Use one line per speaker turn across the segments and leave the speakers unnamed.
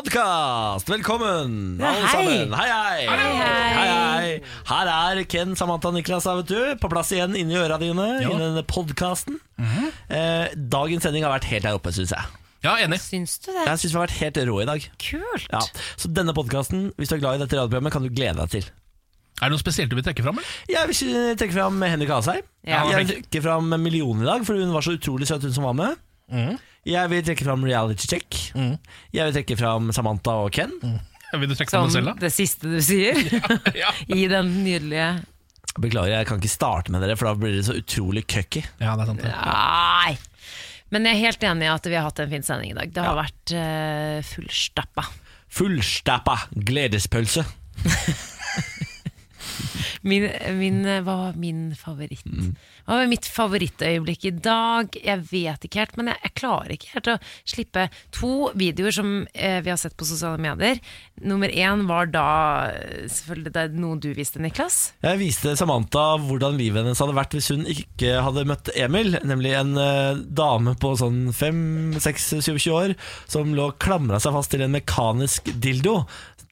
podkast! Velkommen,
Ja,
alle
hei.
sammen. Hei hei.
Hei, hei.
hei. Her er Ken, Samantha og Niklas her, vet du. På plass igjen inni øra dine i denne podkasten.
Mhm.
eh, dagens sending har vært helt der oppe, syns jeg.
Ja, enig.
Syns du det?
Jeg syns vi har vært helt rå i dag.
Kult.
Ja. Så denne podkasten, hvis du er glad i dette radioprogrammet, kan du glede deg til.
Er det noe spesielt du vil trekke fram? eller?
Jeg vil trekke fram Henrik Asheim.
Ja.
Jeg vil trekke fram Million i dag, for hun var så utrolig søt, hun som var med.
Mhm.
Jeg vil trekke fram Reality Check. Jeg vil trekke fram Samantha og Ken.
Vil du trekke fram
Som
det selv, da?
det siste du sier
Sånn. Ja.
i den nydelige
Beklager, jeg kan ikke starte med dere, for da blir dere så utrolig cucky.
Ja, det er sant. det.
Nei! Men jeg er helt enig i at vi har hatt en fin sending i dag. Det har vært uh, fullstappa.
Fullstappa gledespølse.
Min, min, eh, hva var min favoritt? Hva var mitt favorittøyeblikk i dag? Jeg vet ikke helt, men jeg, jeg klarer ikke helt å slippe to videoer som eh, vi har sett på sosiale medier. Nummer én var da eh, selvfølgelig det er noe du viste, Niklas.
Jeg viste Samantha hvordan livet hennes hadde vært hvis hun ikke hadde møtt Emil, nemlig en eh, dame på sånn 5-6-27 år som lå og klamra seg fast til en mekanisk dildo.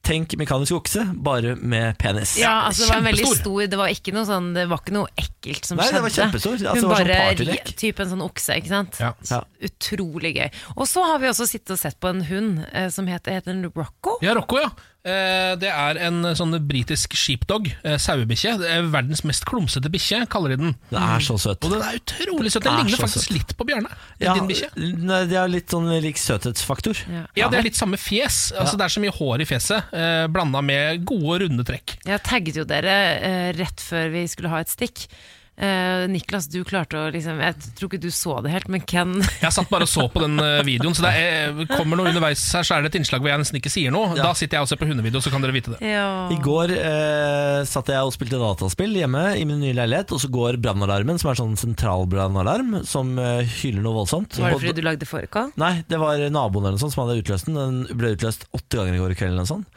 Tenk mekanisk okse, bare med penis.
Ja, altså det var en veldig
kjempestor.
stor Det var ikke noe, sånn, det var ikke noe ekkelt som
Nei, det
skjedde.
var kjempestor. Altså, det var sånn partylek.
ri- Typ en sånn okse, ikke sant.
Ja.
Ja.
Utrolig gøy. Og så har vi også sittet og sett på en hund eh, som heter, heter den Rocco.
Ja, Rocco, ja. Eh, Det er en sånn britisk sheepdog, eh, sauebikkje. Det er Verdens mest klumsete bikkje, kaller de den.
Den er så søt.
Og den er utrolig søt.
Den
Den
er
ligner
så
faktisk
søt.
litt på Bjarne.
Ja,
Din bikkje.
nei, de har litt sånn lik søthetsfaktor.
Ja.
Ja, det er litt samme fjes. Altså, Det er så mye hår i fjeset, eh, blanda med gode, runde trekk.
Jeg tagget jo dere eh, rett før vi skulle ha et stikk. Eh, Niklas, du klarte å liksom Jeg tror ikke du så det helt, men Ken
Jeg satt bare og så på den eh, videoen, så det er, eh, kommer noe underveis her, så er det et innslag hvor jeg nesten ikke sier noe. Da sitter jeg og ser på hundevideo, så kan dere vite det.
ja.
I går eh, satt jeg og spilte dataspill hjemme i min nye leilighet, og så går brannalarmen, som er sånn sentralbrannalarm, som eh, hyler noe voldsomt.
Var det
Og
fordi du lagde fårikål?
Nei, det var naboen eller noe sånt som hadde utløst den. Den ble utløst åtte ganger i går kveld. eller noe sånt.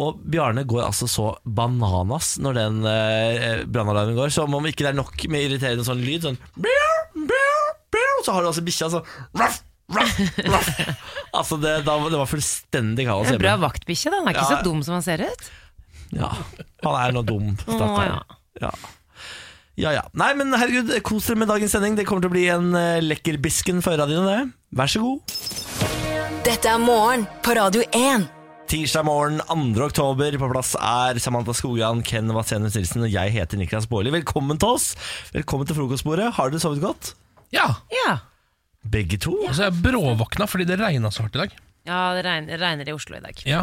Og Bjarne går altså så bananas når den eh, brannalarmen går, som om ikke det er nok med irriterende sånn lyd. Sånn bjau, bjau, bjau, Så har du altså bikkja sånn raff, raff, raff. Altså det, da, det var fullstendig kaos
En bra
hjemme.
vaktbikkje, da. Han er ikke
Ja.
så dum som han ser ut.
Ja, han er nå dum,
Å,
stakkar. Ja. Ja, ja. Nei, men herregud, kos dere med dagens sending. Det kommer til å bli en eh, lekker bisken for øra dine, det. Vær så god.
Dette er morgen på Radio 1.
Tirsdag morgen 2. oktober. På plass er Samantha Skogran, Ken Vasenus Nilsen og jeg heter Niklas Baarli. Velkommen til oss. Velkommen til frokostbordet. Har dere sovet godt?
Ja,
Ja,
Begge to?
altså Jeg bråvåkna fordi det regna så hardt i dag.
ja det regner, regner i Oslo i dag.
Ja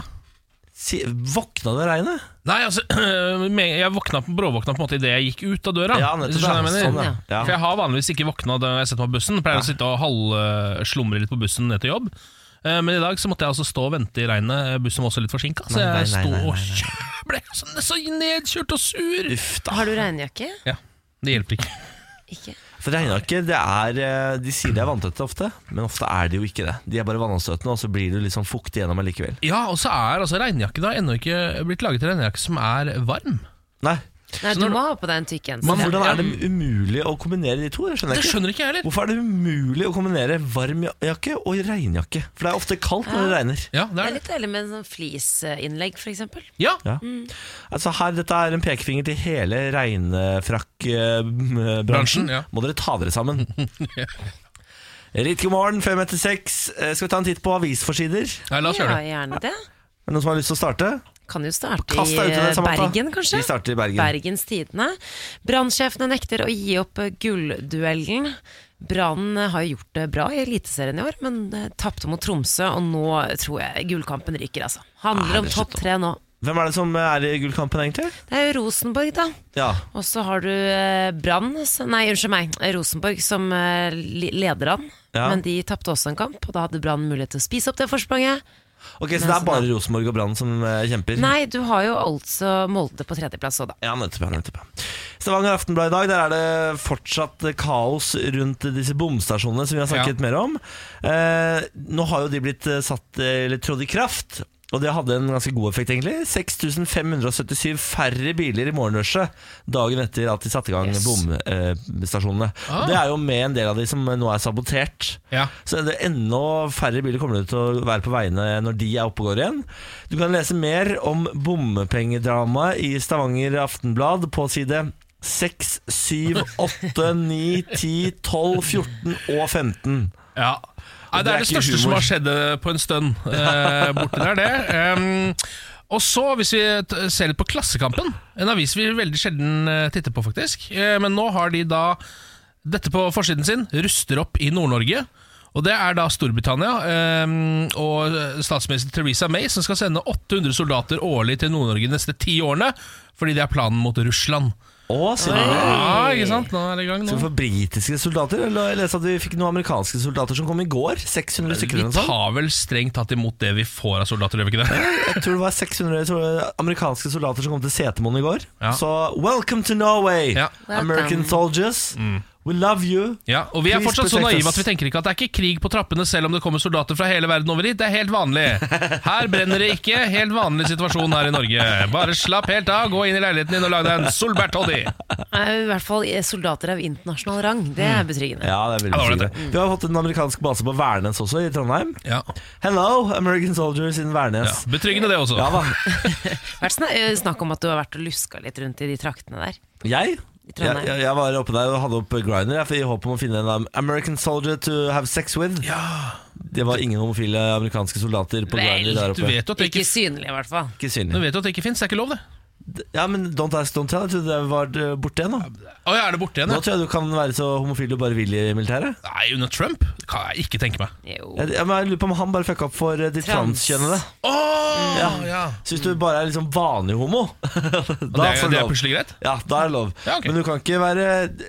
Si, våkna det av regnet?
Nei, altså med- Jeg våkna, bråvåkna på en måte idet jeg gikk ut av døra.
Ja, nettopp,
hvis du skjønner hva jeg
ja.
mener.
Sånn, ja. Ja.
For jeg har vanligvis ikke våkna da jeg setter meg på bussen. Pleier å sitte og halvslumre litt på bussen ned til jobb. Eh, Men i dag så måtte jeg altså stå og vente i regnet. Bussen var også litt forsinka, så
Nei, nei,
jeg
nei, nei,
sto
nei,
og kjø- ble så, så nedkjørt og sur.
Uff da.
Har du regnjakke?
Ja, det hjelper ikke.
Ikke?
For regna ikke. Det er, eh, de sier de er vanntøtte ofte, men ofte er de jo ikke det. De er bare vannavstøtende, og så blir du litt sånn fuktig gjennom allikevel.
Ja, og så er altså regnjakke da ennå ikke blitt laget til regnjakke som er varm.
Nei.
Nei, du må ha på deg en tykk
Men
genser.
hvordan er det umulig å kombinere de to? Jeg skjønner
Det
ikke.
skjønner ikke jeg heller.
Hvorfor er det umulig å kombinere varm jakke og regnjakke? For det er ofte kaldt når det regner.
Ja, det
Det
er
er
det.
litt deilig med en sånn fleeceinnlegg, for eksempel.
Ja,
Ja.
Mm.
Altså her, Dette er en pekefinger til hele regnefrakkbransjen.
Bransjen, ja.
Må dere ta dere sammen. Riktig god morgen, fem etter seks. Eh, Skal vi ta en titt på avisforsider?
Nei, la oss
Ja,
gjøre det.
gjerne det.
Er det noen som har lyst til å starte?
Kan jo starte
Kast deg ut i det,
i
Samantha.
Bergen, kanskje?
Vi starter i Bergen.
Bergens Tidende. Brannsjefene nekter å gi opp eh, gullduellen. Brann eh, har jo gjort det bra i Eliteserien i år, men eh, tapte mot Tromsø, og nå tror jeg gullkampen ryker, altså. Handler om
det er
topp tre nå.
Hvem er det som eh, er i gullkampen, egentlig?
Det er jo Rosenborg, da.
Ja,
Og så har du eh, Brann s- Nei, unnskyld meg. eh, Rosenborg som eh, li- leder an.
Ja.
Men de tapte også en kamp, og da hadde Brann mulighet til å spise opp det forspranget.
Ok, Så det er bare Rosenborg og Brann som eh, kjemper?
Nei, du har jo altså Molde på tredjeplass òg, da.
Ja, nettopp, ja, nettopp. ja. Stavanger Aftenblad i dag, der er det fortsatt kaos rundt disse bomstasjonene som vi har snakket mer om. Eh, nå har jo de blitt eh, satt, eller eh, trådt i kraft, Og det hadde en ganske god effekt, egentlig. 6577 færre biler i morgenrushet dagen etter at de satte i gang
Yes.
bomstasjonene.
Ah.
Og Det er jo med en del av de som nå er sabotert.
Ja.
Så det er enda færre biler kommer det til å være på veiene når de er oppe og går igjen. Du kan lese mer om bompengedramaet i Stavanger Aftenblad på side 6, 7, 8, 9, 10, 12, 14 og 15.
Ja.
det er
Nei, det er det
ikke
største
humor.
som har skjedd eh, på en stund eh, borti der, det. Em, og så, hvis vi t- ser litt på Klassekampen, en avis vi veldig sjelden eh, titter på, faktisk. Eh, men nå har de da dette på forsiden sin, ruster opp i Nord-Norge. Og det er da Storbritannia em, og eh, statsminister Theresa May som skal sende 800 soldater årlig til Nord-Norge de neste ti årene, fordi det er planen mot Russland.
Å, sier du det?
Ja, ikke sant? Nå er det i gang,
Skal vi
nå.
få britiske soldater? Eller jeg leste at vi fikk noen amerikanske soldater som kom i går. 600 stykker
Vi
eller noe sånt.
tar vel strengt tatt imot det vi får av soldater, gjør vi ikke det?
Jeg tror det var 600 jeg tror det var amerikanske soldater som kom til Setermoen i går.
Ja.
Så welcome to Norway,
Ja. Mm.
American soldiers. We love you.
Ja, og Vi er
Please
fortsatt så
protect
naive
us.
at vi tenker ikke at det er ikke krig på trappene selv om det kommer soldater fra hele verden over hit. Det er helt vanlig. Her brenner det ikke. Helt vanlig situasjon her i Norge. Bare slapp helt av, gå inn i leiligheten din og lag deg en solbærtoddy.
Eh, I hvert fall eh, soldater av internasjonal rang. Det er betryggende.
Mm. Ja, det er
Ja,
veldig
det var
fint.
det.
Vi har fått en amerikansk base på Værnes også, i Trondheim.
Ja,
Hello, American soldiers in
ja.
Værnes.
Betryggende, det også.
Ja, da.
Vært sna- eh, Snakk om at du har vært og luska litt rundt i de traktene der.
Jeg? Jeg,
Trondheim.
jeg, jeg var oppe der og hadde opp Griner i håp om å finne en American soldier to have sex with. Det var ingen homofile amerikanske soldater på
Vel,
Griner der
Du
oppe.
vet jo at det
Ikke
ikke,
synlig, i hvert fall.
Ikke
du
synlig.
vet jo at det ikke fins. Det er ikke lov, det.
Ja, men Don't ask, don't tell. Jeg trodde det var eh, borte igjen. da
Å, ja, er det borte igjen?
Nå
Ja?
tror jeg du kan være så homofil du bare vil i militæret.
Nei, under Trump? Det kan jeg ikke tenke meg.
Jo.
Jeg, jeg, men jeg lurer på om han bare fucka opp for eh, de
Trans.
transkjønnede.
Å,
Mm,
ja. ja.
Så hvis du bare er liksom vanlig homo,
Det
da
er,
får du
det er
lov.
plutselig greit?
Ja, da er det lov.
Ja, ok.
Men du kan ikke være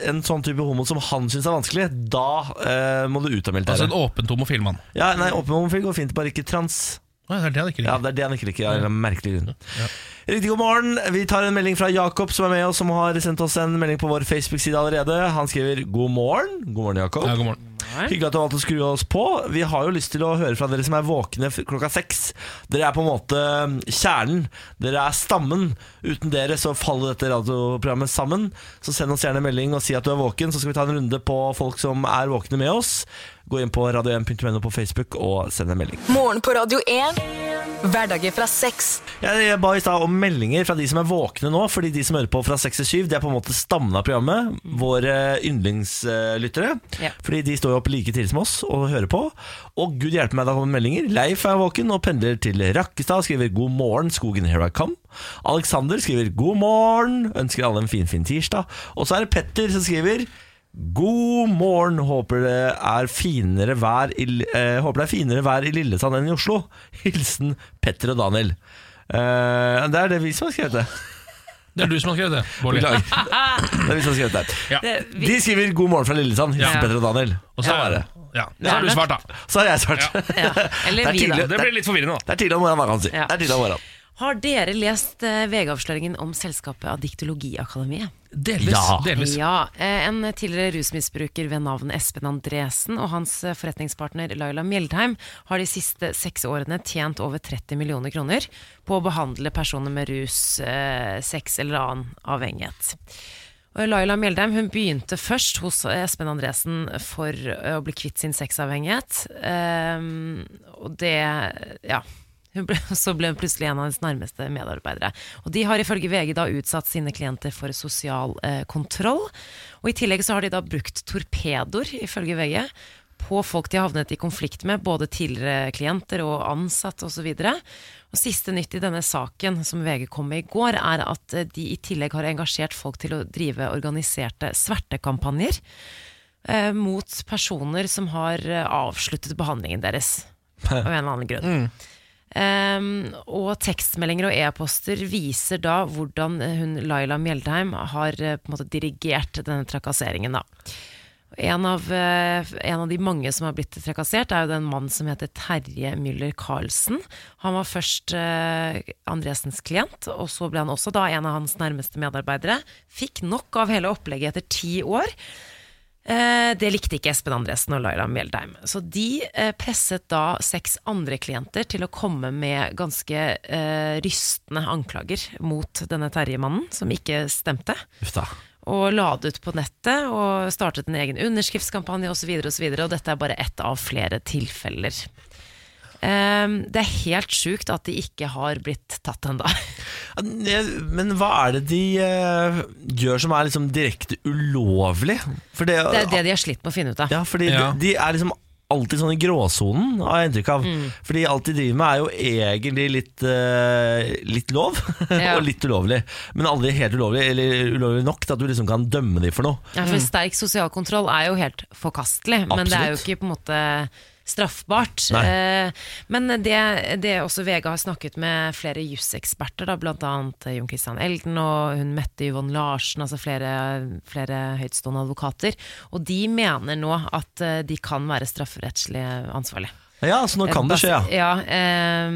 en sånn type homo som han syns er vanskelig. Da eh, må du ut av
Altså
militæret.
en åpent homofil mann.
Ja, nei, Åpen homofil går fint, bare ikke trans.
Å, ja, det er det han ikke
Ja,
liker.
Det er det han ikke liker. Av en eller annen merkelig grunn. Riktig god morgen. Vi tar en melding fra Jakob, som er med oss, som har sendt oss en melding på vår Facebook-side allerede. Han skriver 'God morgen'. God morgen, Jakob.
Ja, god morgen.
Hyggelig at du har valgt å skru oss på. Vi har jo lyst til å høre fra dere som er våkne f- klokka seks. Dere er på en måte mm, kjernen. Dere er stammen. Uten dere så faller dette radioprogrammet sammen. Så send oss gjerne en melding og si at du er våken, så skal vi ta en runde på folk som er våkne med oss. Gå inn på radio1.no på Facebook og send en melding.
Morgen på Radio 1. Hverdager fra seks.
Jeg ba i stad om meldinger fra de som er våkne nå, fordi de som hører på fra 6 til 7, det er på en måte stammen av programmet. Våre yndlingslyttere.
Ja.
Fordi de står jo opp like tidlig som oss og hører på. Og gud hjelpe meg, da kommer meldinger. Leif er våken og pendler til Rakkestad og skriver 'God morgen, skogen, here I come'. Alexander skriver 'God morgen', ønsker alle en finfin fin tirsdag. Og så er det Petter som skriver God morgen, håper det er finere vær i, eh, håper det er finere vær i Lillesand enn i Oslo. Hilsen Petter og Daniel. Eh, det er det vi som har skrevet det.
Det er du som har skrevet det, Bård. Lie.
Beklager. Det er vi som har skrevet det.
Ja.
Det- vi-
De skriver 'God morgen fra Lillesand'. Hilsen
Ja.
Petter og Daniel.
Og så,
Sånn er det.
ja, så har du svart, da.
Så har jeg svart.
Ja.
Ja. Eller
Det er
vi, da.
tidlig.
Det ble litt forvirrende, da.
Det er tidlig om morgenen, hva kan man si.
Ja.
Det er tidlig om morgenen.
Har dere lest eh, VG-avsløringen om selskapet Adiktologiakademiet?
Delvis.
Ja.
delvis.
Ja, eh, En tidligere rusmisbruker ved navn Espen Andresen og hans eh, forretningspartner Laila Mjeldheim har de siste seks årene tjent over 30 millioner kroner på å behandle personer med rus, eh, sex eller annen avhengighet. Og Laila Mjeldheim hun begynte først hos Espen Andresen for eh, å bli kvitt sin sexavhengighet. Ehm, og det Ja. Hun ble, så ble hun plutselig en av hennes nærmeste medarbeidere. Og de har ifølge VG da utsatt sine klienter for sosial eh, kontroll. Og i tillegg så har de da brukt torpedoer, ifølge VG, på folk de har havnet i konflikt med, både tidligere klienter og ansatte osv. Og siste nytt i denne saken som VG kom med i går, er at eh, de i tillegg har engasjert folk til å drive organiserte svertekampanjer eh, mot personer som har eh, avsluttet behandlingen deres, av en eller annen grunn. Ehm, og tekstmeldinger og e-poster viser da hvordan eh, hun Laila Mjeldheim har eh, på en måte dirigert denne trakasseringen. da. En av, eh, en av de mange som har blitt trakassert, er jo den mann som heter Terje Müller Karlsen. Han var først eh, Andresens klient, og så ble han også da en av hans nærmeste medarbeidere. Fikk nok av hele opplegget etter ti år. Eh, Eh, Det likte ikke Espen Andresen og Laila Mjeldheim. Så de eh, presset da seks andre klienter til å komme med ganske eh, rystende anklager mot denne Terje-mannen, som ikke stemte.
Uff da.
Og la det ut på nettet og startet en egen underskriftskampanje osv. Og, så videre, og dette er bare ett av flere tilfeller. Eh, Det er helt sjukt at de ikke har blitt tatt ennå.
Ja, det- Men hva er det de eh, gjør som er liksom direkte ulovlig? For det,
Det er det de har slitt med å finne ut av.
Ja, fordi
Ja.
De, de er liksom alltid sånn i gråsonen, har jeg inntrykk av.
Mm.
Fordi alt de driver med er jo egentlig litt, eh, litt lov,
Ja.
og litt ulovlig. Men aldri helt ulovlig, eller ulovlig nok til at du liksom kan dømme dem for noe.
Ja, for Sterk sosial kontroll er jo helt forkastelig, men det
Mm.
er jo
Absolutt.
ikke på en måte straffbart.
Nei.
Eh, men det, det også VG har snakket med flere juseksperter, da, blant annet Jon Christian Elden og hun Mette Yvonne Larsen, altså flere, flere høytstående advokater, og de mener nå at eh, de kan være strafferettslig ansvarlig.
Ja, så nå kan det skje, ja.
Ja, altså, eh,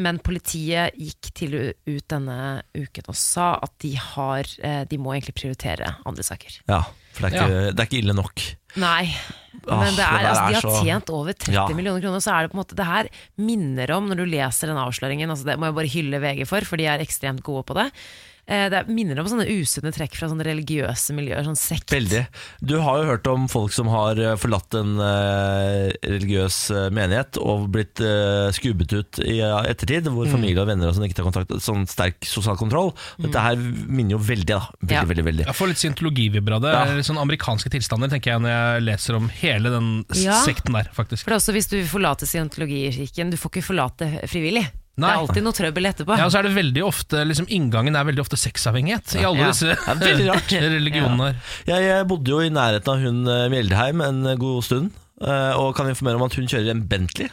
men politiet gikk til ut denne uken og sa at de, har, eh, de må egentlig prioritere andre saker.
ja for det er, ikke, det er ikke ille nok.
Nei.
Åh,
Men det
det
er,
der
altså,
er
de har
så-
tjent over 30
Ja.
millioner kroner, så er det på en måte Det her minner om, når du leser den avsløringen altså Det må jeg bare hylle VG for, for de er ekstremt gode på det. Eh, Det er- minner om sånne usunne trekk fra sånne religiøse miljøer, sånn sekt.
Veldig. Du har jo hørt om folk som har eh, forlatt en eh, religiøs eh, menighet og blitt eh, skubbet ut i eh, ettertid, hvor familie og venner og sånn ikke tar kontakt. Sånn sterk sosial kontroll. Dette her minner jo veldig, da. Veldig,
Ja.
veldig, veldig.
Jeg får litt scientologivibber av det.
Ja.
Eller sånn amerikanske tilstander, tenker jeg når jeg leser om hele den s-
Ja.
sekten der, faktisk.
For det er også hvis du forlater scientologikirken, du får ikke forlate frivillig.
Nei.
Det er alltid noe trøbbel etterpå.
Ah.
Ja, og så er det veldig ofte, liksom Inngangen er veldig ofte sexavhengighet i alle
Ja.
disse
Det er veldig rart.
religionene. her
Jeg, jeg bodde jo i nærheten av hun eh, Mjeldheim en god stund, eh, og kan informere om at hun kjører en Bentley.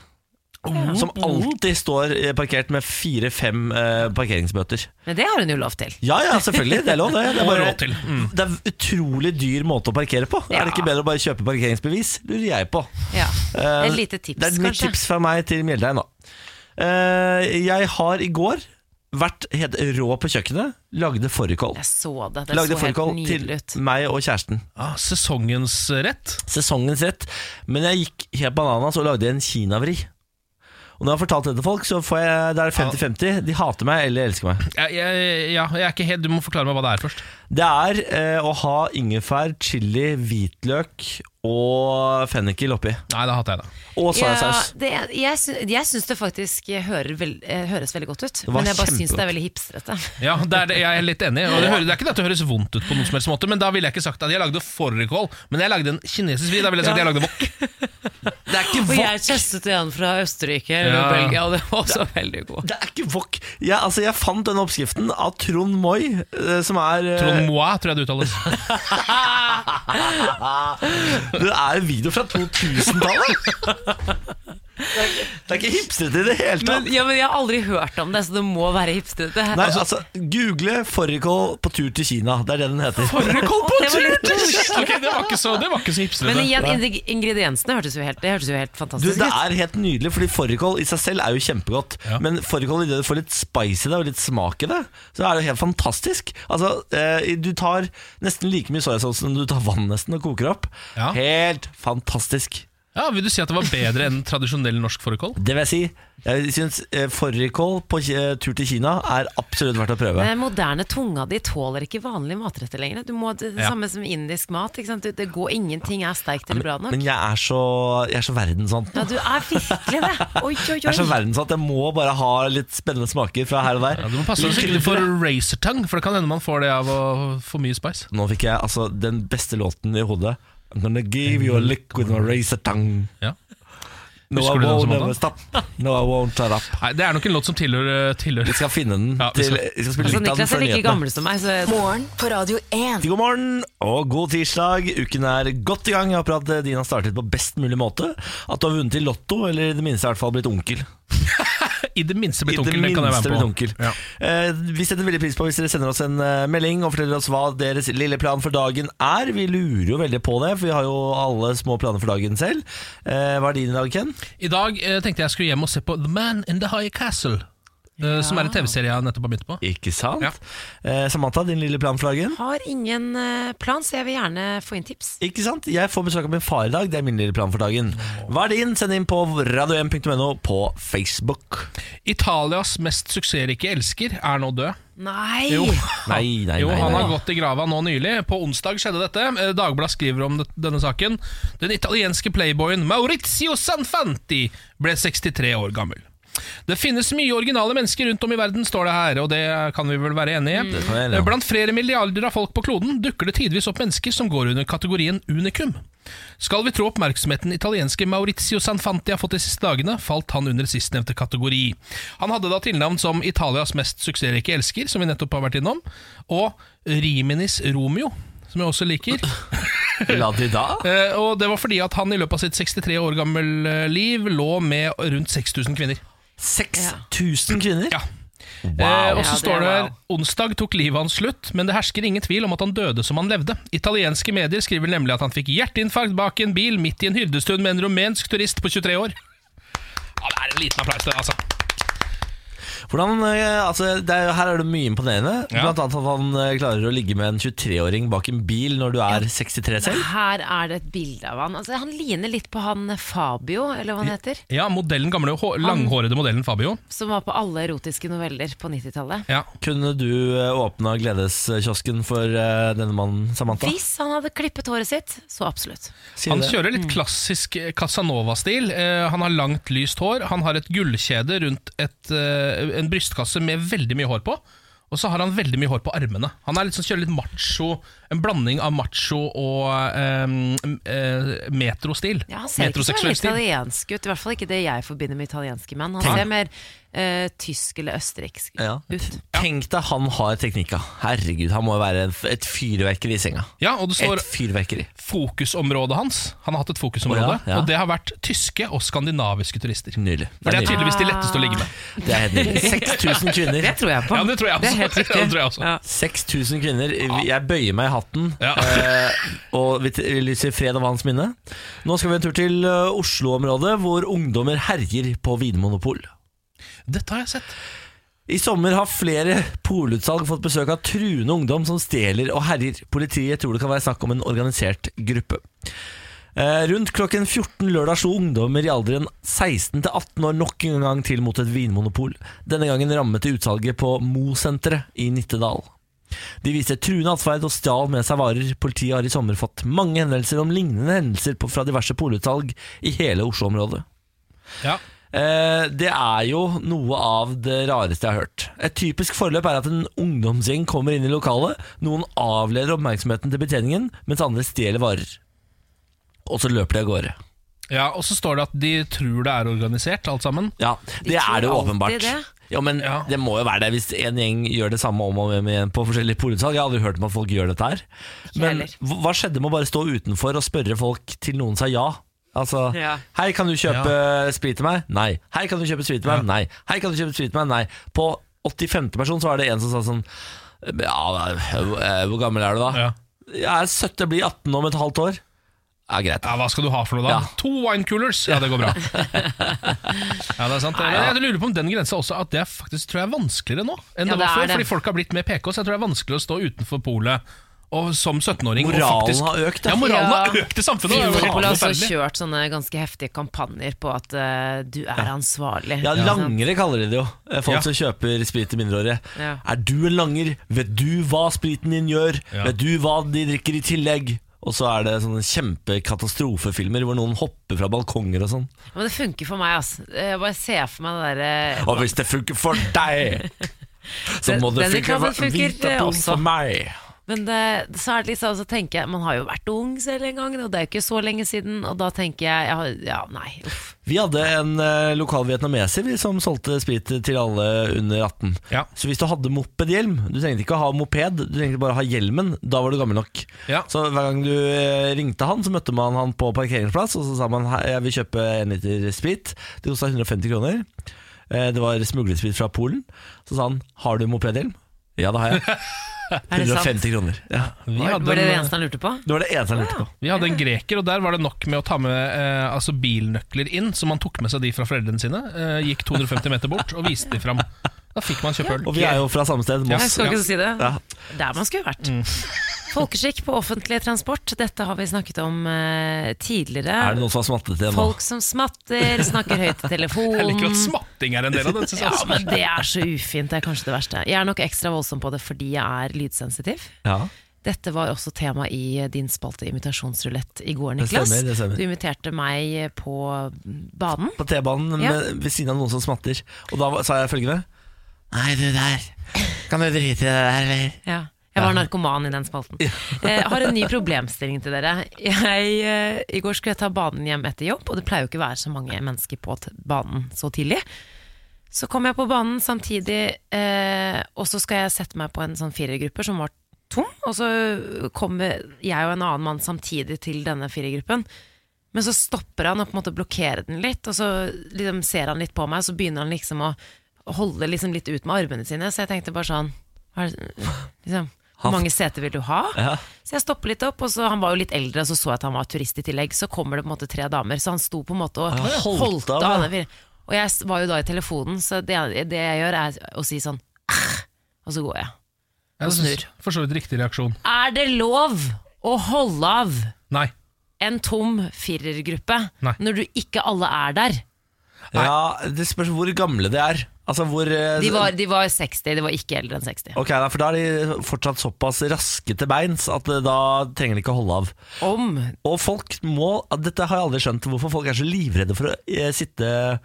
Som alltid står eh, parkert med fire-fem eh, parkeringsbøter.
Men det har hun jo lov til.
Ja ja, selvfølgelig. Det er lov, det. Det er,
Og
bare,
råd til. Mm.
det er utrolig dyr måte å parkere på. Er det
Ja.
ikke bedre å bare kjøpe parkeringsbevis? Lurer jeg på.
Ja.
Eh,
Et lite tips,
Det er et nytt
kanskje.
tips fra meg til Mjeldheim, da. Eh, jeg har i går vært helt rå på kjøkkenet. Lagde fårikål.
Jeg så det. Det
Lagde
så helt
fårikål til
nydelig ut.
meg og kjæresten.
Ah, sesongens rett.
sesongens rett, men jeg gikk helt bananas og lagde en kinavri. Og når jeg har fortalt det til folk, så får jeg, det er 50-50. De hater meg eller elsker meg.
Jeg, jeg, ja, jeg er ikke helt, Du må forklare meg hva det er først.
Det er eh, å ha ingefær, chili, hvitløk og fennikel oppi.
Nei, da hater jeg det.
Og
Ja,
soyasaus.
det, jeg, sy- jeg syns det faktisk hører vel, eh, høres veldig godt ut,
var
men jeg bare syns det
kjempegodt.
er veldig hipstrete.
Ja, det er det, Jeg er litt enig. Og det, hører, det er ikke det at det høres vondt ut, på noen som helst måte men da ville jeg ikke sagt at jeg lagde fårikål, men jeg lagde en kinesisk vri. Da ville jeg sagt at jeg lagde wok.
Det er ikke
Og jeg
wok!
testet en fra Østerrike eller
Ja.
Belgia, og det var også veldig god.
Det er ikke wok. Jeg, altså, jeg fant den oppskriften av Trond Moi, eh, som er eh,
Trond Moi, tror jeg det uttales.
Det er en video fra 2000-tallet! Det er ikke- det er ikke hipstrete i det hele tatt.
Men, ja, men jeg har aldri hørt om det, så det må være hipstrete.
Nei, altså, Google fårikål på tur til Kina. Det er det den heter. Fårikål
Det var litt koselig.
Ok, det var ikke så, det var ikke så
Men
hipstrete.
igjen, ing- ingrediensene hørtes jo helt, det hørtes jo helt
Du,
fantastisk
det
ut.
er helt nydelig, fordi fårikål i seg selv er jo kjempegodt.
Ja.
Men fårikål i det du får litt spice i det og litt smak i det, så er det jo helt fantastisk. Altså, eh, Du tar nesten like mye soyasaus som du tar vann nesten og koker opp.
Ja.
Helt fantastisk.
Ja, Vil du si at det var bedre enn tradisjonell norsk fårikål?
Det vil jeg si. Jeg syns eh, fårikål på ki- eh, tur til Kina er absolutt verdt å prøve.
Den Eh, moderne tunga di tåler ikke vanlige matretter lenger. Du må, det det
Ja.
samme som indisk mat. Ikke sant? Det, det går, ingenting er sterkt eller bra nok.
Men jeg er så, jeg er så verdensant.
Ja, du er virkelig det. Oi, oi,
Jeg er så
oi.
verdensant, jeg må bare ha litt spennende smaker fra her og der.
Ja, Du må passe deg så ikke du får racertang, for det kan hende man får det av å for mye spice.
Nå fikk jeg altså den beste låten i hodet. I'm gonna give you a lick with my razor tongue.
Ja.
No, I
Husker du den
won't
som
ever
låt
stop. No, I won't shut up.
Nei, Det er nok en låt som tilhører, tilhører.
Vi skal finne den
Ja, vi
til
skal-
Vi skal spille
Altså,
litt av den
Niklas
før
er like
nyhetene.
gammel som meg, så
Morgen på Radio 1.
God morgen og god tirsdag. Uken er godt i gang. Jeg håper at eh, din har startet på best mulig måte. At du har vunnet i Lotto, eller i det minste i hvert fall blitt onkel.
I det minste
I
blitt
det
onkel. Det kan jeg
minste blitt
være med på.
onkel.
Ja.
Eh, vi setter veldig pris på hvis dere sender oss en eh, melding og forteller oss hva deres lille plan for dagen er. Vi lurer jo veldig på det, for vi har jo alle små planer for dagen selv. Eh, hva er din i dag, Ken?
I dag eh, tenkte jeg skulle hjem og se på The Man in the High Castle. eh, som
Ja.
er en TV-serie jeg nettopp har begynt på.
Ikke sant?
Ja.
Eh, Samantha, din lille plan for dagen?
Har ingen eh, plan, så jeg vil gjerne få inn tips.
Ikke sant? Jeg får besøk av min far i dag. Det er min lille plan for dagen. Hva er din? Send inn på radio1.no på Facebook.
Italias mest suksessrike elsker er nå død.
Nei!
Jo.
Nei, nei,
Jo,
nei.
han har
nei.
gått i grava nå nylig. På onsdag skjedde dette. Eh, Dagbladet skriver om det, denne saken. Den italienske playboyen Maurizio Sanfanti ble 63 år gammel. Det finnes mye originale mennesker rundt om i verden, står det her, og det kan vi vel være enig i.
Mm. Det kan jeg gjøre.
Eh, Blant flere milliarder av folk på kloden dukker det tidvis opp mennesker som går under kategorien unikum. Skal vi tro oppmerksomheten italienske Maurizio Sanfanti har fått de siste dagene, falt han under sistnevnte kategori. Han hadde da tilnavn som Italias mest suksessrike elsker, som vi nettopp har vært innom, og Riminis Romeo, som jeg også liker.
La de da?
Eh, og det var fordi at han i løpet av sitt 63 år gammel eh, liv lå med rundt 6000 kvinner.
6000 kvinner?
Ja. Eh,
Wow.
og så
Ja, det
står det
er
her
wow.
Onsdag tok livet hans slutt, men det hersker ingen tvil om at han døde som han levde. Italienske medier skriver nemlig at han fikk hjerteinfarkt bak en bil midt i en hyrdestund med en rumensk turist på 23 år. Ja, Det er en liten applaus, det, altså.
Hvordan, eh, altså, det er, her er det mye imponerende.
Ja.
Blant annet at han eh, klarer å ligge med en 23-åring bak en bil når du er 63 selv.
Her er det et bilde av han. Altså, han ligner litt på han eh, Fabio, eller hva han heter.
Ja, modellen, gamle hå- langhårede modellen Fabio.
Som var på alle erotiske noveller på 90-tallet.
Ja.
Kunne du eh, åpna gledeskiosken for eh, denne mannen, Samantha?
Hvis han hadde klippet håret sitt, så absolutt.
Sier
Han
det.
kjører litt klassisk eh, Casanova-stil. Eh, han har langt, lyst hår. Han har et gullkjede rundt et, eh, en brystkasse med veldig mye hår på. Og så har han veldig mye hår på armene. Han er litt sånn, kjører litt macho, en blanding av macho og eh, eh, metrostil.
Ja, han ser ikke så veldig italiensk ut. I hvert fall ikke det jeg forbinder med italienske menn. Han
Tenk-
ser mer eh, tysk eller østerriksk
Ja.
ut.
Tenk deg han har teknikka. Herregud, han må jo være en f- et fyrverkeri i senga.
Ja, og det
Et
står
fyrverkeri.
fokusområdet hans. Han har hatt et fokusområde,
Å, ja, ja.
og det har vært tyske og skandinaviske turister.
Nydelig.
For det er
nydelig.
tydeligvis de letteste å ligge med.
Det er helt nydelig. 6000 kvinner.
Det tror jeg på.
Ja, det tror jeg også.
Det er helt riktig.
Ja, det tror jeg også.
Ja.
6000 kvinner. Jeg bøyer meg i hatten
Ja.
eh, og vi t- vi lyser fred over hans minne. Nå skal vi en tur til eh, Oslo-området, hvor ungdommer herjer på vinmonopol.
Dette har jeg sett.
I sommer har flere polutsalg fått besøk av truende ungdom som stjeler og herjer. Politiet tror det kan være snakk om en organisert gruppe. Eh, Rundt klokken 14 lørdag slo ungdommer i alderen 16 til 18 år nok en gang til mot et vinmonopol. Denne gangen rammet det utsalget på Mo-senteret i Nittedal. De viste truende atferd og stjal med seg varer. Politiet har i sommer fått mange henvendelser om lignende hendelser på- fra diverse polutsalg i hele Oslo-området.
Ja.
Eh, Det er jo noe av det rareste jeg har hørt. Et typisk forløp er at en ungdomsgjeng kommer inn i lokalet. Noen avleder oppmerksomheten til betjeningen, mens andre stjeler varer. Og så løper de av gårde.
Ja, Og så står det at de tror det er organisert, alt sammen.
Ja, Det
tror
er det jo
alltid
åpenbart.
det.
Ja, men
Ja.
Det må jo være det hvis en gjeng gjør det samme om og om igjen på forskjellige polutsalg. Jeg har aldri hørt om at folk gjør dette her. Men
heller.
hva hva skjedde med å bare stå utenfor og spørre folk til noen sa ja? Altså,
Ja.
Hei, kan du kjøpe sprit til meg? Nei. Hei, kan du kjøpe sprit til meg? Nei. Hei, kan du kjøpe sprit til meg? Nei. På 85. person så var det en som sa sånn Ja, eh, hvor gammel er du da?
Ja.
Jeg er 70, jeg blir 18 om et halvt år. Ja, greit.
Ja, Hva skal du ha for noe, da?
Ja.
To winecoolers! Ja, det går bra. Ja, det er sant. Jeg lurer på om den grensa også at det er faktisk tror jeg er vanskeligere nå enn
Ja,
det var
det er
før.
det.
Fordi folk har blitt mer PK, så jeg tror det er vanskelig å stå utenfor polet og, som 17-åring. og
Moralen
faktisk-
har økt, ja. altså.
Ja, moralen har
Ja.
økt i samfunnet. Det er jo helt
Vinmonopolet har også
forferdelig.
kjørt sånne ganske heftige kampanjer på at eh, du er ansvarlig.
Ja, Langere kaller de det jo. Eh, Folk
Ja.
som kjøper sprit til mindreårige.
Ja.
Er du en langer? Vet du hva spriten din gjør?
Ja.
Vet du hva de drikker i tillegg? Og så er det sånne kjempekatastrofefilmer hvor noen hopper fra balkonger og sånn.
Men det funker for meg, altså. Jeg bare ser for meg det eh, derre
Og hvis det funker for deg, så
Den-
må det
den
funke
reklamen
for
funker, eh,
Vinterpolen
også.
for meg.
Men det, så er det liksom, så tenker jeg Man har jo vært ung selv en gang, og det er jo ikke så lenge siden. Og da tenker jeg Ja, ja nei, uff.
Vi hadde en eh, lokal vietnameser vi, som solgte sprit til alle under 18.
Ja.
Så hvis du hadde mopedhjelm, du trengte ikke å ha moped, du trengte bare å ha hjelmen, da var du gammel nok.
Ja.
Så hver gang du eh, ringte han, så møtte man han på parkeringsplass, og så sa man «Hei, jeg vil kjøpe en liter sprit. Det kosta 150 kroner. Eh, Det var smuglersprit fra Polen. Så sa han har du mopedhjelm? Ja, det har jeg.
Er det sant?
150 kroner. Ja.
Vi
Var,
hadde
var det det
en,
eneste han lurte på?
Det var det eneste han lurte på.
vi hadde en greker, og der var det nok med å ta med eh, altså bilnøkler inn. Så man tok med seg de fra foreldrene sine, eh, gikk 250 meter bort og viste de fram. Da fikk man kjøpe øl.
Og vi er jo fra samme sted,
Jeg
Moss.
skal ikke si det.
Ja.
Der man skulle vært. Folkeskikk på offentlig transport, dette har vi snakket om eh, tidligere.
Er det noen som har smattet igjen nå?
Folk som smatter, snakker høyt i telefonen.
Jeg liker sånn. at
Mm.
smatting er en del av det. synes jeg
Ja,
også.
men Det er så ufint, det er kanskje det verste. Jeg er nok ekstra voldsom på det fordi jeg er lydsensitiv.
Ja.
Dette var også tema i din spalte Imitasjonsrulett i går,
Det
Niklas.
stemmer, det stemmer.
Du imiterte meg på banen.
På T-banen
Ja.
med- ved siden av noen som smatter. Og da var- sa jeg følgende Nei, du der. Kan du drite i det der, eller?
Ja. Jeg var narkoman i den spalten. Jeg har en ny problemstilling til dere. Jeg, eh, I går skulle jeg ta banen hjem etter jobb, og det pleier jo ikke å være så mange mennesker på t banen så tidlig. Så kom jeg på banen samtidig, eh, og så skal jeg sette meg på en sånn firergruppe som var tom. Og så kommer jeg og en annen mann samtidig til denne firergruppen. Men så stopper han og på en måte blokkerer den litt, og så liksom ser han litt på meg, og så begynner han liksom å holde liksom litt ut med armene sine. Så jeg tenkte bare sånn hva er det- liksom, Hvor mange seter vil du ha?
Ja.
Så jeg stopper litt opp, og så han var jo litt eldre, og så så jeg at han var turist i tillegg. Så kommer det på en måte tre damer, så han sto på en måte og
Ah,
holdt,
holdt av,
av.
ja.
denne fire. Og jeg s- var jo da i telefonen, så det, det jeg gjør er å si sånn «Ah», Og så går jeg.
Jeg synes, for så vidt riktig reaksjon.
Er det lov å holde av
Nei.
en tom firergruppe
Nei.
når du ikke alle er der?
Ja, det spørs hvor gamle de er. Altså hvor eh,
De var, de var 60, de var ikke eldre enn 60.
Ok, da, for da er de fortsatt såpass raske til beins at eh, da trenger de ikke å holde av.
Om
Og folk må at Dette har jeg aldri skjønt, hvorfor folk er så livredde for å eh, sitte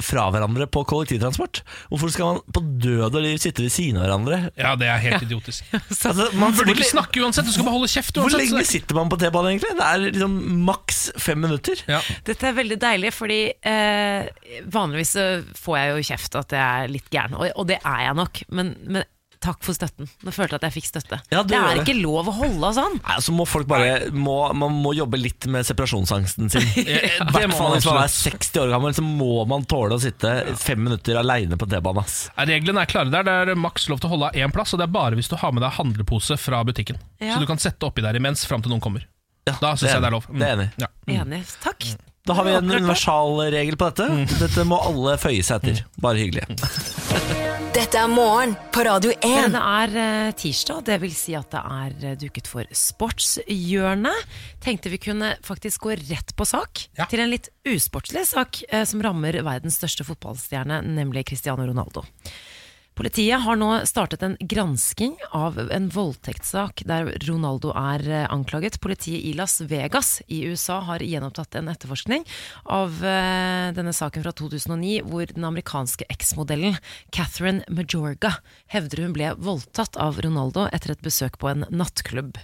fra hverandre på kollektivtransport. Hvorfor skal man på død og liv sitte ved siden av hverandre?
Ja, det er helt idiotisk.
Altså, man
Du burde
hvor
ikke
le-
snakke uansett, du skal bare holde kjeft
Hvor
uansett.
lenge sitter man på T-banen egentlig? Det er liksom maks fem minutter.
Ja.
Dette er veldig deilig, fordi eh, vanligvis så får jeg jo kjeft at jeg er litt gæren, og, og det er jeg nok. Men, men takk for støtten. Nå følte jeg at jeg fikk støtte.
Ja, du
det
gjør
er
det.
ikke lov å holde av sånn.
Nei, så må folk bare må, Man må jobbe litt med separasjonsangsten sin. I
det må
hvert fall
man
hvis man er
absolutt.
60 år gammel, så må man tåle å sitte fem minutter aleine på T-banen. ass.
Ja, Reglene er klare der. Det er maks lov til å holde av én plass, og det er bare hvis du har med deg handlepose fra butikken.
Ja.
Så du kan sette oppi der imens fram til noen kommer.
Ja,
Da syns
er
jeg det
enig.
er lov. Mm.
Det er enig.
Ja.
Enig. Takk.
Da har vi en
Akkurat det.
universalregel på dette.
Mm.
Dette må alle føye seg etter. Bare hyggelig.
Dette er morgen på Radio 1.
Men det er eh, tirsdag, det vil si at det er eh, duket for sportshjørnet. Tenkte vi kunne faktisk gå rett på sak,
Ja.
til en litt usportslig sak eh, som rammer verdens største fotballstjerne, nemlig Cristiano Ronaldo. Politiet har nå startet en gransking av en voldtektssak der Ronaldo er eh, anklaget. Politiet i Las Vegas i USA har gjenopptatt en etterforskning av eh, denne saken fra 2009, hvor den amerikanske eksmodellen Catherine Majorga hevder hun ble voldtatt av Ronaldo etter et besøk på en nattklubb.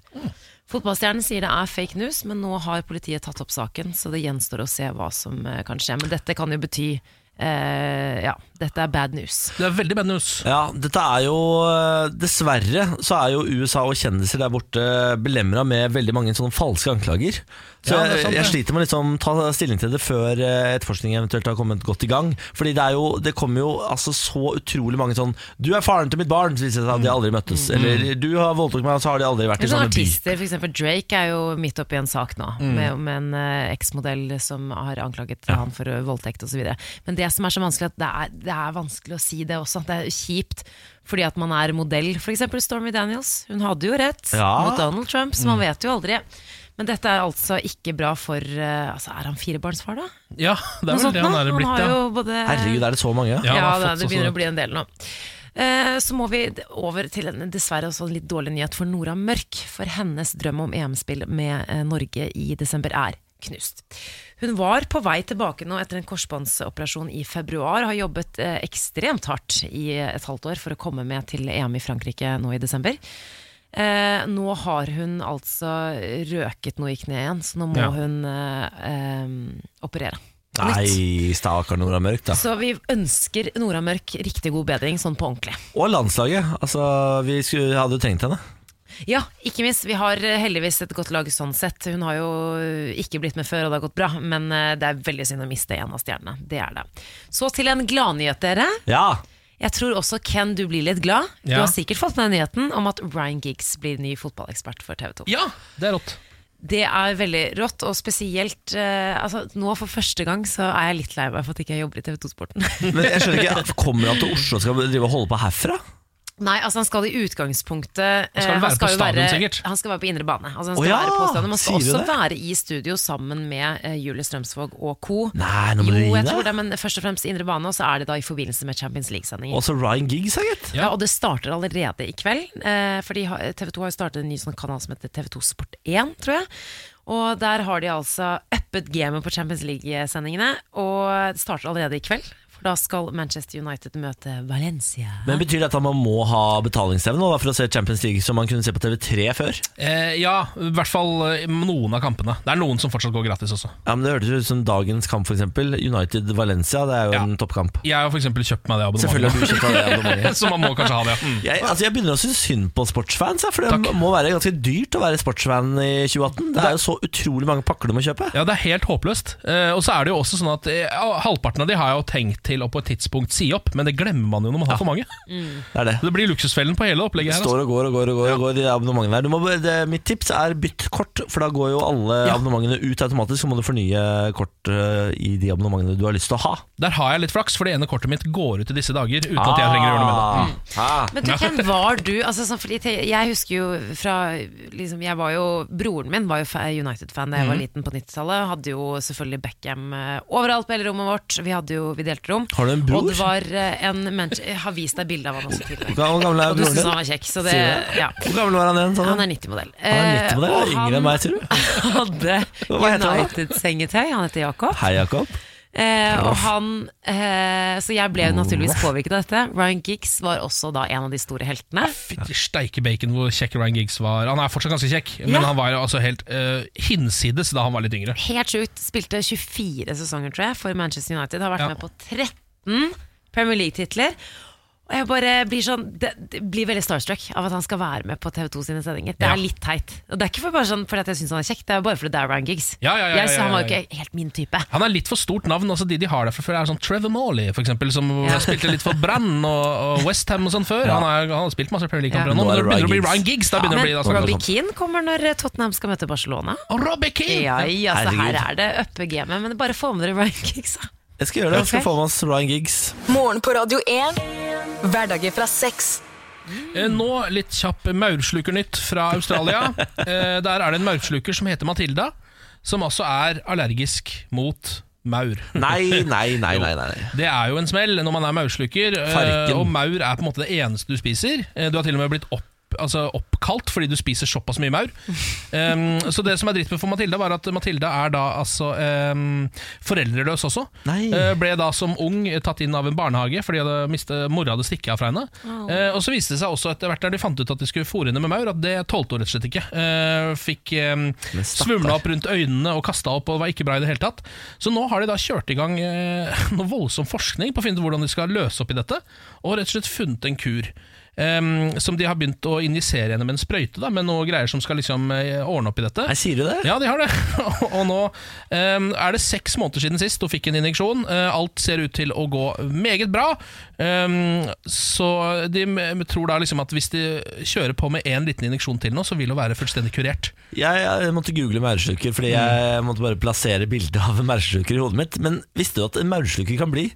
Fotballstjernen sier det er fake news, men nå har politiet tatt opp saken, så det gjenstår å se hva som eh, kan skje. Men dette kan jo bety eh, Ja, dette er bad news.
Det er veldig bad news.
Ja, dette er jo eh, Dessverre så er jo USA og kjendiser der borte belemra med veldig mange sånne falske anklager. Så
Ja, det er
jeg,
sant,
jeg
det.
sliter med å liksom ta stilling til det før eh, etterforskningen eventuelt har kommet godt i gang. Fordi det, er jo, det kommer jo altså så utrolig mange sånn 'Du er faren til mitt barn', så viser det seg
Mm.
at de aldri møttes. Eller 'Du har voldtatt meg', og så har de aldri vært i
Men sånne
sånn
samme by.
artister, for eksempel Drake er jo midt oppi en sak nå,
Mm.
med, med en eh, eksmodell som har anklaget han for eh, voldtekt osv. Men det som er så vanskelig, at det er, det er vanskelig å si det også. Det er kjipt fordi at man er modell, f.eks. Stormy Daniels. Hun hadde jo rett
Ja.
mot Donald Trump, så
Mm.
man vet jo aldri. Men dette er altså ikke bra for eh, altså Er han firebarnsfar, da?
Ja, det
Noe
er vel
sånt
det han
nå?
er blitt.
har
Ja.
jo både
Herregud, er det så mange? Ja?
Ja,
ja,
han har
det, det
fått sånn-
begynner å bli en del nå. Eh, Så må vi d- over til en dessverre også en litt dårlig nyhet for Nora Mørk. For hennes drøm om EM-spill med eh, Norge i desember er knust. Hun var på vei tilbake nå etter en korsbåndsoperasjon i februar. Har jobbet eh, ekstremt hardt i et halvt år for å komme med til EM i Frankrike nå i desember. Eh, nå har hun altså røket noe i kneet igjen, så nå må
Ja.
hun eh, eh, operere.
Nei, stakkar Nora Mørk, da.
Så vi ønsker Nora Mørk riktig god bedring, sånn på ordentlig.
Og landslaget. Altså, vi skulle, hadde jo trengt henne.
Ja, ikke minst. Vi har eh, heldigvis et godt lag sånn sett. Hun har jo eh, ikke blitt med før, og det har gått bra, men eh, det er veldig synd å miste en av stjernene. Det er det. Så til en gladnyhet, dere.
Ja!
Jeg tror også Ken du blir litt glad. Du
Ja.
har sikkert fått med nyheten om at Ryan Giggs blir ny fotballekspert for TV 2.
ja, det er rått.
Det er veldig rått, og spesielt eh, altså, Nå for første gang så er jeg litt lei meg for at ikke jeg jobber i TV 2-sporten.
Men jeg skjønner ikke, Kommer han til Oslo og skal drive og holde på herfra?
Nei, altså han skal i utgangspunktet eh,
skal vel være på
jo
stadion, sikkert?
Han skal være på indre bane. Altså,
Å
han skal
ja,
være på stadion. Man skal
sier du
også
det?
være i studio sammen med eh, Julie Strømsvåg og co.
Nei, nå må du
jo,
gi
jeg tror
deg.
det, men først og fremst indre bane, og så er det da i forbindelse med Champions League-sendinger.
Også Ryan Giggs, har gitt.
Ja, og det starter allerede i kveld, eh, fordi TV 2 har jo startet en ny sånn kanal som heter TV 2 Sport 1, tror jeg. Og der har de altså uppet gamet på Champions League-sendingene, og det starter allerede i kveld. For da skal Manchester United møte Valencia.
Men Betyr det at man må ha betalingsevne nå da, for å se Champions League som man kunne se på TV3 før?
Eh, ja, i hvert fall eh, noen av kampene. Det er noen som fortsatt går gratis også.
Ja, men Det hørtes ut som dagens kamp, f.eks. United-Valencia. Det er jo
Ja.
en toppkamp.
Jeg har for eksempel kjøpt meg det
Selvfølgelig har
abonnementet.
du kjøpt deg det abonnementet.
Så man må kanskje ha det. ja. Mm.
Jeg, altså jeg begynner å synes synd på sportsfans, ja, for det må være ganske dyrt å være sportsfan i 2018. Det er jo så utrolig mange pakker du må kjøpe.
Ja, det er helt håpløst. Eh, og så er det jo også sånn at eh, halvparten av de har jeg jo tenkt til å på et tidspunkt si opp, men det glemmer man jo når man har for mange.
Det er det.
Det blir luksusfellen på hele opplegget her. Altså.
Står og går og går og går, og går i de abonnementene her. Du må, bare- det, mitt tips er bytt kort, for da går jo alle abonnementene ut automatisk. Så må du fornye kort eh, i de abonnementene du har lyst til å ha.
Der har jeg litt flaks, for det ene kortet mitt går ut i disse dager uten at jeg trenger å gjøre noe med det. Mm.
med det. Ah.
Men du, hvem var du? Altså, sånn, fordi te- jeg husker jo fra liksom, jeg var jo, Broren min var jo fa- United-fan da jeg
Mhm.
var liten på 90-tallet. Hadde jo selvfølgelig Beckham eh, overalt på hele rommet vårt. Vi, hadde jo, vi delte rom.
Har du en bror?
Og det var eh, en mensch- Jeg har vist deg bilde av han også tidligere.
Hvor gammel er
Og
broren
du syntes
din?
han var kjekk, så det
Sier
ja.
Hvor gammel var han igjen? Sånn?
Han er 90-modell.
Han er 90 modell,
og
yngre enn meg, sier du?
hadde
Hva heter han da?
United-sengetøy. Han heter Jakob.
Hei, Jakob.
Eh, og han, eh, så jeg ble jo naturligvis påvirket av dette. Ryan Giggs var også da en av de store heltene.
Fytti steike bacon hvor kjekk Ryan Giggs var. Han er fortsatt ganske kjekk, men
Ja.
han var altså helt eh, hinsides da han var litt yngre.
Helt sjukt. Spilte 24 sesonger, tror jeg, for Manchester United. Har vært
Ja.
med på 13 Premier League-titler. Og jeg bare blir sånn det, det blir veldig starstruck av at han skal være med på TV2 sine sendinger. Det
Ja.
er litt teit. Og det er ikke for bare sånn fordi at jeg syns han er kjekk, det er bare fordi det er Ryan Giggs.
Ja, ja, ja, ja,
Jeg- så han var jo
ja, ja.
ikke helt min type.
Han er litt for stort navn. altså De de har der fra før, er sånn Trevor Morley, for eksempel, som
Ja.
spilte litt for Brann og, og Westham og sånn før.
Ja.
Han, er, han har spilt masse Premier
Ja.
League-kamper,
Nå
nå, men
er
det
det
begynner å bli
Ryan
Ryan Giggs. Da begynner
men
det å bli da,
Robin-
sånn.
Robbie Keane kommer når eh, Tottenham skal møte Barcelona.
Og Robbie Keane!
Ja, ja, så her
Herregud.
er det uppe gamet. Men bare få med dere Ryan Giggs, da.
Jeg skal gjøre det. Jeg skal
Ok.
få med oss Ryan Giggs.
Morgen på Radio 1. Hverdager fra seks.
Eh, Nå litt kjapp maurslukernytt fra Australia. Eh, Der er det en maursluker som heter Matilda, som altså er allergisk mot maur.
Nei, nei, nei, nei, nei.
Det er jo en smell når man er maursluker, eh,
Farken.
og maur er på en måte det eneste du spiser. Eh, Du har til og med blitt opp Altså oppkalt fordi du spiser såpass mye maur. Um, så det som er dritt med for Matilda, var at Matilda er da altså um, foreldreløs også.
Nei.
Eh, ble da som ung tatt inn av en barnehage fordi hadde mistet, mora hadde stikket av fra henne. Eh, og så viste det seg også etter hvert der de fant ut at de skulle fôre henne med maur, at det tålte hun rett og slett ikke. Eh, fikk um,
Men stakkar.
svulma opp rundt øynene og kasta opp og var ikke bra i det hele tatt. Så nå har de da kjørt i gang eh, noe voldsom forskning på å finne ut hvordan de skal løse opp i dette, og rett og slett funnet en kur. eh, som de har begynt å injisere henne med en sprøyte, da, med noe greier som skal liksom eh, ordne opp i dette.
Nei, Sier du det?
Ja, de har det. Og nå ehm, er det seks måneder siden sist hun fikk en injeksjon. Eh, alt ser ut til å gå meget bra. Ehm, så de m- tror da liksom at hvis de kjører på med én liten injeksjon til nå, så vil hun være fullstendig kurert.
Jeg, jeg måtte google maursluker fordi jeg måtte bare plassere bildet av en maursluker i hodet mitt. Men visste du at en maursluker kan bli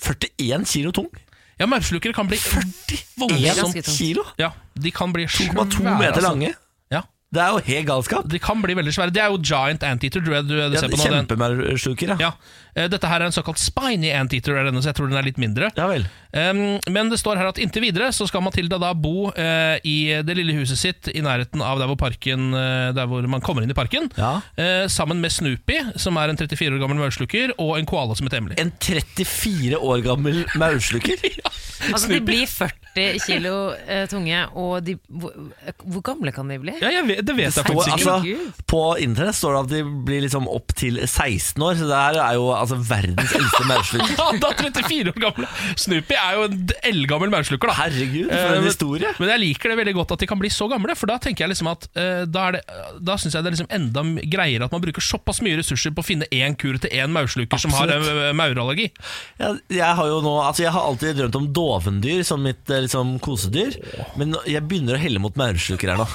41 kilo tung?
Ja, maurslukere kan bli voldsomt
1
ganske tungt.
kilo?
Ja, de kan bli
2,2 meter
altså.
lange.
Ja,
Det er jo helt galskap.
de kan bli veldig svære. Det er jo giant anteater. Du, du, du
Ja,
ser på nå, den.
Kjempemaursluker, ja.
Ja. Eh, Dette her er en såkalt spiny anteater, er denne, så jeg tror den er litt mindre.
Ja vel.
Um, men det står her at inntil videre så skal Matilda da bo eh, i det lille huset sitt i nærheten av der hvor, parken, eh, der hvor man kommer inn i parken.
Ja.
Eh, sammen med Snoopy, som er en 34 år gammel maursluker, og en koala som heter Emily.
En 34 år gammel maursluker?
Altså, de blir 40 kilo eh, tunge, og de, hvor, hvor gamle kan de bli?
Ja, jeg vet, det vet jeg
Og,
faktisk ikke.
altså,
Herregud.
på internett står det at de blir liksom opp til 16 år, så det her er jo altså, verdens eldste maursluker.
Ja, da 34 år gamle Snoopy er jo en d- eldgammel maursluker, da.
Herregud,
Eh,
for en
men-
historie.
Men jeg liker det veldig godt at de kan bli så gamle, for da tenker jeg liksom at eh, da, er det, da synes jeg det er liksom enda m- greiere at man bruker såpass mye ressurser på å finne én kur til én maursluker som har
Absolutt.
eh, maurallergi.
Jeg, jeg har jo nå Altså jeg har alltid drømt om dovendyr som mitt eh, liksom, kosedyr, men jeg begynner å helle mot maurslukere her nå.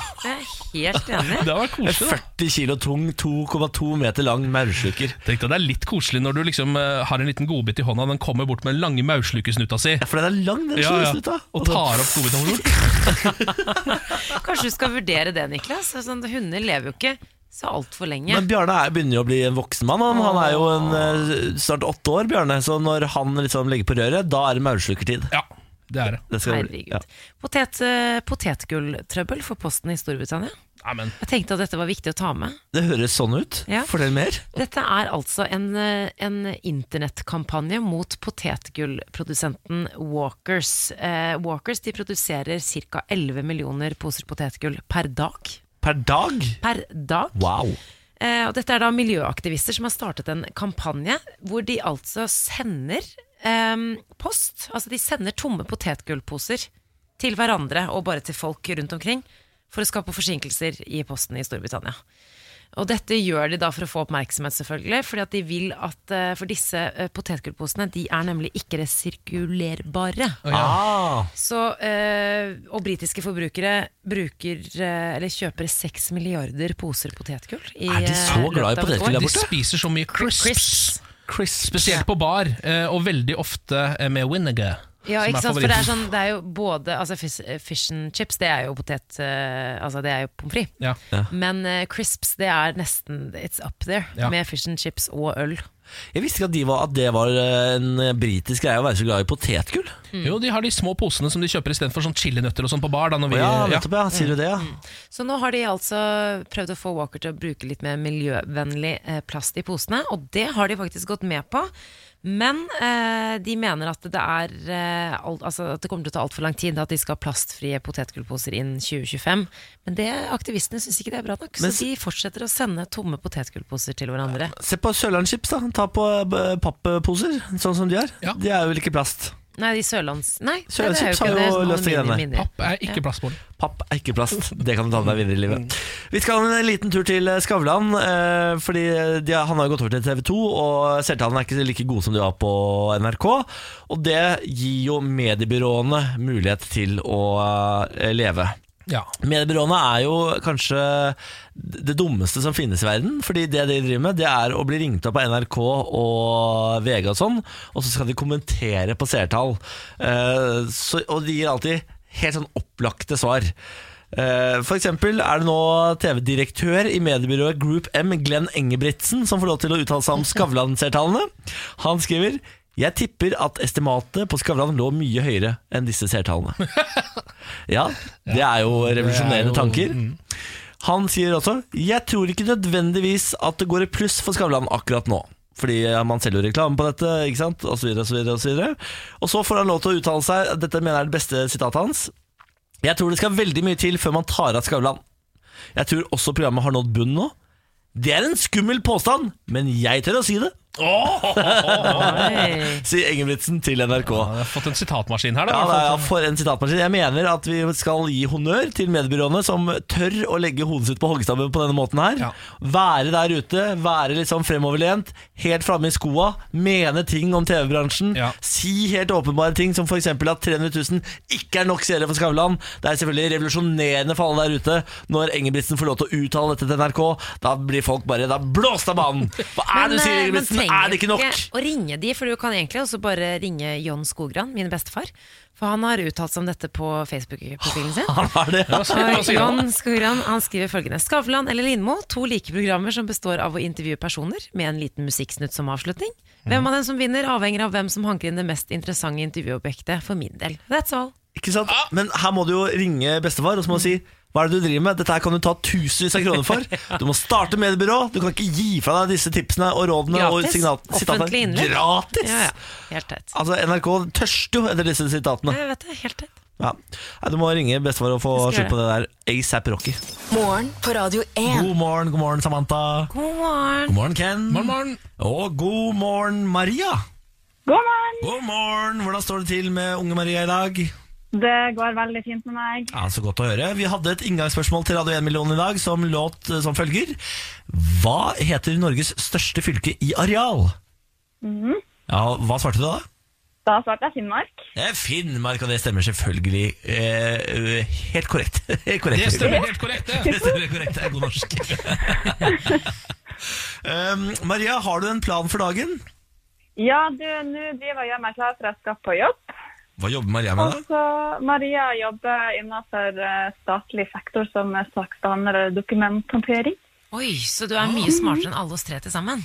Det er helt enig.
Det var
En
koselig. da.
40 kilo tung, 2,2 meter lang maursluker.
Tenk deg, Det er litt koselig når du liksom eh, har en liten godbit i hånda, den kommer bort med den lange maurslukersnuta si.
Ja, for den er lang, den
Ja, ja.
slås ut av.
Og tar
Altså-
opp godbiten. over bordet.
Kanskje du skal vurdere det, Niklas. Altså, hunder lever jo ikke så altfor lenge.
Men Bjarne er, begynner jo å bli en voksen mann. Han, han er jo en, eh, snart åtte år, Bjarne. Så når han liksom legger på røret, da er det maurslukertid.
Ja, det er det.
Det skal det bli,
Herregud.
ja.
Potet, eh, potetgulltrøbbel for Posten i Storbritannia.
Nei, men
Jeg tenkte at dette var viktig å ta med.
Det høres sånn ut.
Ja.
Fortell mer.
Dette er altså en, eh, en internettkampanje mot potetgullprodusenten Walkers. Eh, Walkers de produserer ca. 11 millioner poser potetgull per dag.
Per dag?
Per dag.
Wow.
Eh, og dette er da miljøaktivister som har startet en kampanje hvor de altså sender eh, post. Altså de sender tomme potetgullposer til hverandre og bare til folk rundt omkring for å skape forsinkelser i posten i Storbritannia. Og dette gjør de da for å få oppmerksomhet, selvfølgelig. Fordi at de vil at eh, For disse eh, potetgullposene de er nemlig ikke resirkulerbare.
Ah.
Så, eh, og britiske forbrukere bruker, eh, eller kjøper 6 milliarder poser potetgull. i,
Er de så
eh, løpet
glad i
av et
potetgull
år.
der
de
borte?
spiser så mye crisps.
Crisps.
Spesielt på bar, eh, og veldig ofte eh, med vinegar.
Ja,
som
ikke
er
sant? For det er,
favoritten.
sånn, det er jo både altså fish, fish and chips, det er jo potet eh, Altså, det er jo pommes frites.
Ja.
Men eh, crisps, det er nesten It's up there
Ja.
med fish and chips og øl.
Jeg visste ikke at, de var, at det var eh, en britisk greie å være så glad i potetgull.
Mm.
Jo, de har de små posene som de kjøper istedenfor sånn chilinøtter og sånn på bar. Da, når vi,
Ja,
ja. Mm,
nettopp, ja. Sier du det, ja.
Så nå har de altså prøvd å få Walker til å bruke litt mer miljøvennlig eh, plast i posene, og det har de faktisk gått med på. Men eh, de mener at det, er, eh, alt, altså at det kommer til å ta altfor lang tid at de skal ha plastfrie potetgullposer innen 2025. Men det, aktivistene syns ikke det er bra nok,
Men
så de fortsetter å sende tomme potetgullposer til hverandre.
Se på Sørlandschips, da. Ta på eh, pappposer, sånn som de er.
Ja.
De er jo vel ikke plast.
Nei, de sørlands... Nei, nei, det er jo
Sørlandschips
ikke
har
det.
jo
Sånn
løst de
aluminium
greiene.
inni.
Papp er ikke plastbolig.
Papp er ikke plast. Det kan du ta med deg videre i
Mm.
livet. Vi skal en eh, liten tur til Skavlan. eh, Fordi de, han har jo gått over til TV 2, og seertallene er ikke like gode som de var på NRK. Og det gir jo mediebyråene mulighet til å eh, leve.
Ja.
Mediebyråene er jo kanskje det dummeste som finnes i verden. Fordi det de driver med, det er å bli ringt opp av NRK og VG og sånn, og så skal de kommentere på seertall. Eh, så- og de gir alltid helt sånn opplagte svar. Eh, For eksempel er det nå TV-direktør i mediebyrået Group M, Glenn Engebrigtsen, som får lov til å uttale seg om Skavlan-seertallene. Han skriver jeg tipper at estimatet på Skavlan lå mye høyere enn disse seertallene. Ja, det er jo Mm. revolusjonerende
jo-
tanker. Han sier også Jeg tror ikke nødvendigvis at det går i pluss for Skavlan akkurat nå. Fordi man selger jo reklame på dette, ikke sant? Og så videre, og så videre, og så videre. Og så får han lov til å uttale seg, dette mener jeg er det beste sitatet hans. Jeg tror det skal veldig mye til før man tar av Skavlan. Jeg tror også programmet har nådd bunnen nå. Det er en skummel påstand, men jeg tør å si det,
Oi.
sier Engebrigtsen til NRK.
Ja, jeg har fått en sitatmaskin her, da.
Ja,
i hvert
det
fall.
er, for en sitatmaskin. Jeg mener at vi skal gi honnør til mediebyråene som tør å legge hodet sitt på hoggestabben på denne måten her.
Ja.
Være der ute, være litt sånn fremoverlent, helt framme i skoa, mene ting om TV-bransjen.
Ja.
Si helt åpenbare ting som f.eks. at 300 000 ikke er nok seere for Skavlan. Det er selvfølgelig revolusjonerende for alle der ute. Når Engebrigtsen får lov til å uttale dette til NRK, da blir folk bare da blåst av banen! Hva er det du
Men,
sier,
eh, man
Engebrigtsen?
trenger
Er det ikke nok?
Å ringe de, for du kan egentlig også bare ringe John Skogran, min bestefar. For han har uttalt seg om dette på Facebook-profilen sin.
Ah, Han har det.
Hva sier- hva
Og
sier han?
John Skogran han skriver følgende Skavlan eller Lindmo, to like programmer som består av å intervjue personer med en liten musikksnutt som avslutning. Hvem av dem som vinner, avhenger av hvem som hanker inn det mest interessante intervjuobjektet, for min del. That's all.
Ikke sant? Men her må du jo ringe bestefar og så må du si hva er det du driver med? Dette her kan du ta tusenvis av kroner for. Du må starte mediebyrå. Du kan ikke gi fra deg disse tipsene og rådene og
Gratis.
signal-
Offentlig
sitatene.
innlegg.
Gratis!
Ja, ja. Helt teit.
Altså, NRK tørster jo etter disse sitatene.
Jeg vet det, helt teit.
Ja. Nei, Du må ringe bestefar og få
Jeg skal
slutt på det der ASAP Rocky.
Morgen på Radio 1.
God morgen, god morgen, Samantha.
God morgen.
God morgen, Ken.
Morgen, morgen.
Og god morgen, Maria.
God morgen!
God morgen. Hvordan står det til med unge Maria i dag?
Det går veldig fint med meg.
Ja, Så godt å høre. Vi hadde et inngangsspørsmål til Radio 1 million i dag som låt eh, som følger. Hva heter Norges største fylke i areal? Ja, Hva svarte du da?
Da svarte jeg Finnmark.
Eh, Finnmark, og det stemmer selvfølgelig. Eh, helt korrekt. Helt korrekt.
Det stemmer helt korrekt, det.
Det stemmer helt korrekt. Det er god norsk. um, Maria, har du en plan for dagen?
Ja, du, nå driver jeg og gjør meg klar for jeg skal på jobb.
Hva jobber Maria
Og
med, da?
så Maria jobber innenfor eh, statlig sektor som er saksbehandler og dokumenthåndtering.
Oi, så du
Ah.
er mye smartere enn alle oss tre til sammen.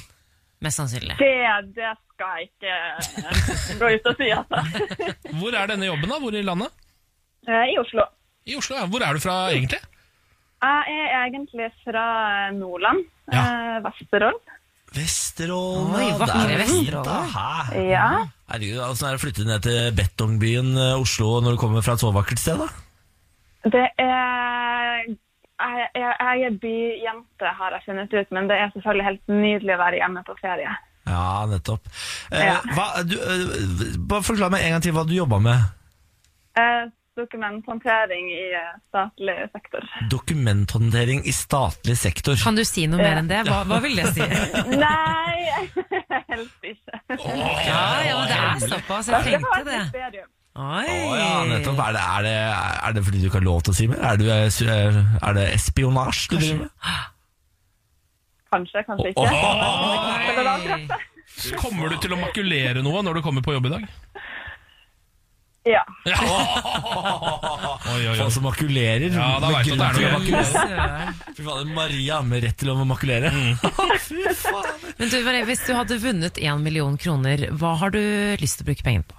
Mest sannsynlig.
Det, det skal jeg ikke eh, gå ut og si, altså.
Hvor er denne jobben, da? Hvor i landet?
Eh, I Oslo.
I Oslo, ja. Hvor er du fra egentlig?
Jeg er egentlig fra Nordland,
Ja.
eh, Vesterålen.
Vesterålen.
Oi,
ja,
vakre
der er fint,
Vesterålen.
da. Hæ?
Ja.
Herregud, altså, er det å flytte ned til betongbyen eh, Oslo når du kommer fra et så vakkert sted, da?
Det er jeg, jeg, jeg er byjente, har jeg funnet ut, men det er selvfølgelig helt nydelig å være hjemme på ferie.
Ja, nettopp. Eh,
Ja.
Hva, du, eh, bare forklar meg en gang til hva du jobba med.
Eh, dokumenthåndtering i eh, statlig sektor.
Dokumenthåndtering i statlig sektor.
Kan du si noe mer enn det? Hva, hva vil det si?
Nei, helst ikke.
Ja, ja, det er såpass. Jeg
Det
tenkte
var et
det.
mysterium.
Oi.
Å ja, nettopp. Er det, er, det, er det fordi du ikke har lov til å si mer? Er, du, eh, su- er, er det espionasje du driver med?
Kanskje, kanskje ikke. Men det var akkurat det.
Kommer du til å makulere noe når du kommer på jobb i dag?
Ja.
Ja. Oi, oi, oi.
Folk som makulerer.
Ja, da
med
vet du at det er
grunn til å
noe.
makulere.
Søren.
Fy faen, Maria med rett til å makulere.
Mm.
Fy faen.
Men du, Marie, hvis du hadde vunnet én million kroner, hva har du lyst til å bruke pengene på?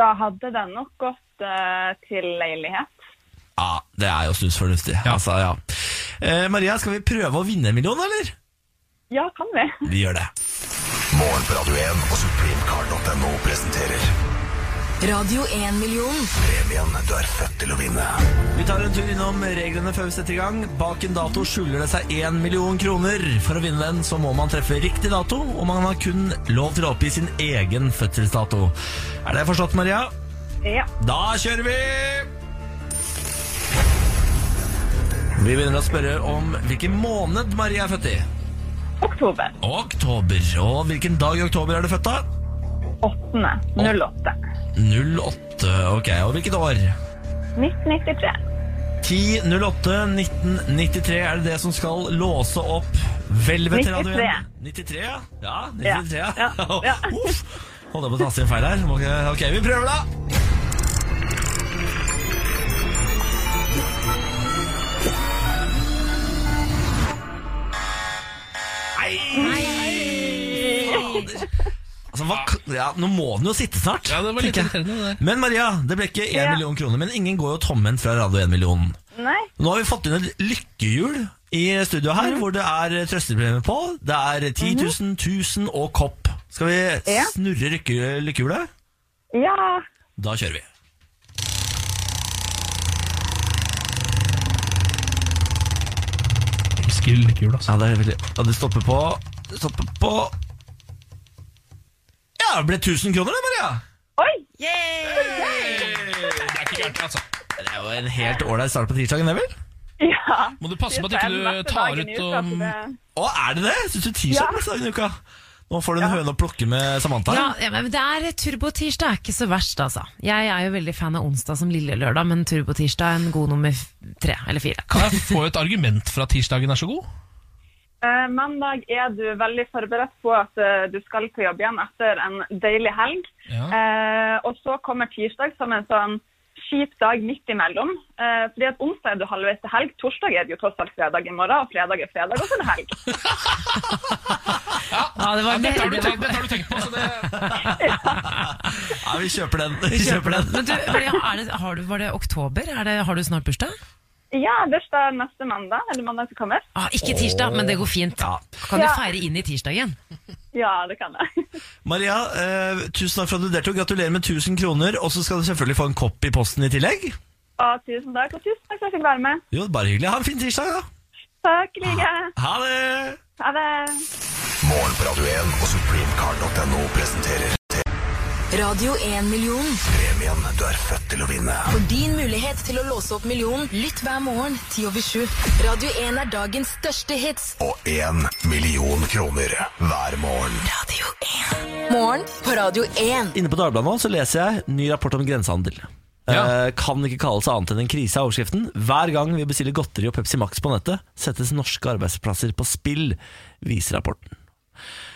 Da hadde den nok gått eh, til leilighet.
Ja, det er jo snusfornuftig.
Ja.
Altså, ja. eh, Maria, skal vi prøve å vinne en million, eller?
Ja, kan vi.
Vi gjør det.
Morgen på Radio 1 og supremecard.no presenterer
Radio 1-million.
premien du er født til å vinne.
Vi tar en tur innom reglene før vi setter i gang. Bak en dato skjuler det seg 1 million kroner. For å vinne den så må man treffe riktig dato, og man har kun lov til å oppgi sin egen fødselsdato. Er det forstått, Maria?
Ja.
Da kjører vi! Vi begynner å spørre om hvilken måned Maria er født i.
Oktober.
Oktober. Og hvilken dag i oktober er du født, da?
8. 08.
08. Ok, og hvilket år?
1993.
10.08.1993 er det det som skal låse opp hvelvet til Radio 1.
93.
93, ja. Ja, 93, ja.
Ja, ja.
Uff. Holdt jeg på å taste inn feil her. Må ikke- Ok, vi prøver, da. Nei! Fader. Altså, hva, k- ja, nå må den jo sitte snart.
Ja, det var litt
tenker jeg.
irriterende, det der.
Men Maria, det ble ikke 1
Ja.
million kroner, men ingen går jo tomhendt fra Radio 1 million.
Nei.
Nå har vi fått inn et lykkehjul i studio her, hvor det er trøstepremier på. Det er 10 000, 1000 og kopp. Skal vi
Ja.
snurre lykke, lykkehjulet?
Ja.
Da kjører vi.
Elsker lykkehjul, altså.
Ja, det, er veldig... ja, det stopper på det Stopper på Ja, det ble 1000 kroner, det, Maria!
Oi!
Det er ikke gærent, altså.
Det er jo en helt ålreit start på tirsdagen, det, vel?
Ja.
Må du passe på at
Det er
ikke
den
du
beste
tar
dagen i
ut um,
uka,
om
så det-
Å, er det det? Syns du
Ja.
tirsdag er beste dagen i uka? Nå får du en høne å plukke med Samantha.
Ja, ja, men det er turbotirsdag, er ikke så verst, altså. Jeg er jo veldig fan av onsdag som lille lørdag, men turbotirsdag er en god nummer f- tre eller fire.
Kan jeg få et argument for at tirsdagen er så god?
Eh, mandag er du veldig forberedt på at eh, du skal på jobb igjen etter en deilig helg.
Ja.
Eh, og så kommer tirsdag som en sånn kjip dag midt imellom. Eh, fordi at onsdag er du halvveis til helg, torsdag er det jo tross alt fredag i morgen, og fredag er fredag, og så er det helg.
Ja, det var,
Dette har du
det
tenkt,
var,
dette har du tenkt på, så det
Ja, vi kjøper den. Vi kjøper den.
men du, Maria, er det, har du, var det oktober? Er det, har du snart bursdag?
Ja, bursdag neste mandag, eller mandag som kommer.
Ah, ikke tirsdag, men det går fint.
Ja.
Kan du
Ja.
feire inn i tirsdagen?
Ja, det kan jeg.
Maria, eh, tusen takk for at du deltok. Gratulerer med 1000 kroner. Og så skal du selvfølgelig få en kopp i posten i tillegg.
Og tusen takk, og tusen takk for at jeg fikk være med.
Jo, bare hyggelig. Ha en fin tirsdag, da.
Takk, i like.
Ha det!
Ha det.
Morgen på Radio 1 og supremecard.no presenterer
Radio 1-million.
Premien du er født til å vinne.
For din mulighet til å låse opp millionen, lytt hver morgen 10 over 7. Radio 1 er dagens største hits.
Og én million kroner hver morgen.
Radio 1. Morgen på Radio 1.
Inne på Dagbladet nå så leser jeg ny rapport om grensehandel.
Ja.
Eh, kan ikke kalles annet enn en krise av overskriften. Hver gang vi bestiller godteri og Pepsi Max på nettet, settes norske arbeidsplasser på spill, viser rapporten.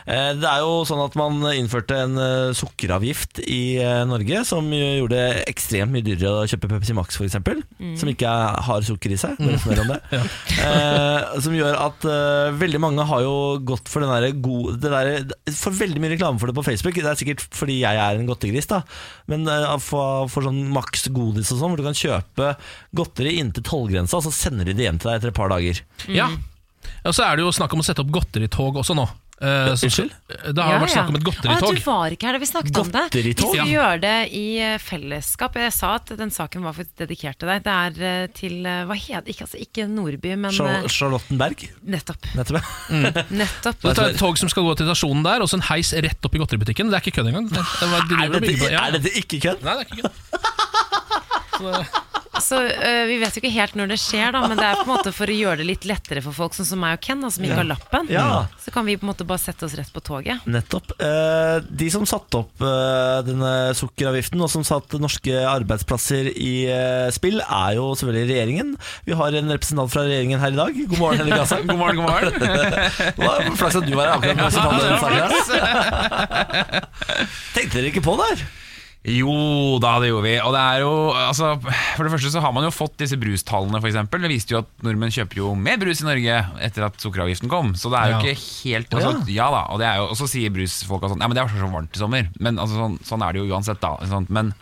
Eh, Det er jo sånn at Man innførte en eh, sukkeravgift i eh, Norge som jo gjorde det ekstremt mye dyrere å kjøpe Pepsi Max f.eks. eksempel
Mm.
Som ikke er- har sukker i seg. Bare litt mer om det. eh, som gjør at eh, veldig mange har jo gått for den der gode det der, For veldig mye reklame for det på Facebook. Det er sikkert fordi jeg er en godtegris, da. Men eh, for, for sånn maks godis og sånn, hvor du kan kjøpe godteri inntil tollgrensa, og så sender de det hjem til deg etter et par dager.
Ja. Og så er det jo snakk om å sette opp godteritog også nå. Eh, så-
Unnskyld?
Det har jo vært snakk om et
Ah,
godteritog.
du var ikke her da vi snakket om det. Vi
Godteritog?
skulle
Ja.
gjøre det i eh, fellesskap. Jeg sa at den saken var faktisk dedikert til deg. Det er eh, til eh, Hva heter ikke, altså, ikke Nordby, men eh,
Char- Charlottenberg,
nettopp.
nettopp.
Mm.
nettopp.
Så det er et tog som skal gå til stasjonen der, og så en heis rett opp i godteributikken. Det er ikke kødd engang. Det er, det var,
Er
de driver og bygger
dette,
på- ja.
er dette ikke kødd?
Nei, det er ikke kødd.
Så øh, Vi vet jo ikke helt når det skjer, da, men det er på en måte for å gjøre det litt lettere for folk sånn som meg og Ken, da, som ikke har lappen.
Ja.
Så kan vi på en måte bare sette oss rett på toget.
Nettopp. Eh, De som satte opp eh, denne sukkeravgiften, og som satte norske arbeidsplasser i eh, spill, er jo selvfølgelig regjeringen. Vi har en representant fra regjeringen her i dag. God morgen, Henrik Asheim.
God morgen, god morgen.
Det var Flaks at du var her akkurat nå. som hadde den saken her. Tenkte dere ikke på det her?
Jo da, det gjorde vi. Og det er jo, altså, for det første så har man jo fått disse brustallene, f.eks. Det viste jo at nordmenn kjøper jo mer brus i Norge etter at sukkeravgiften kom. Så det er jo
Ja.
ikke helt altså,
Å,
Ja da, og, det er jo, og så sier brusfolka sånn Ja, men det var så varmt i sommer. Men altså, sånn, sånn er det jo uansett, da. ikke sant? Men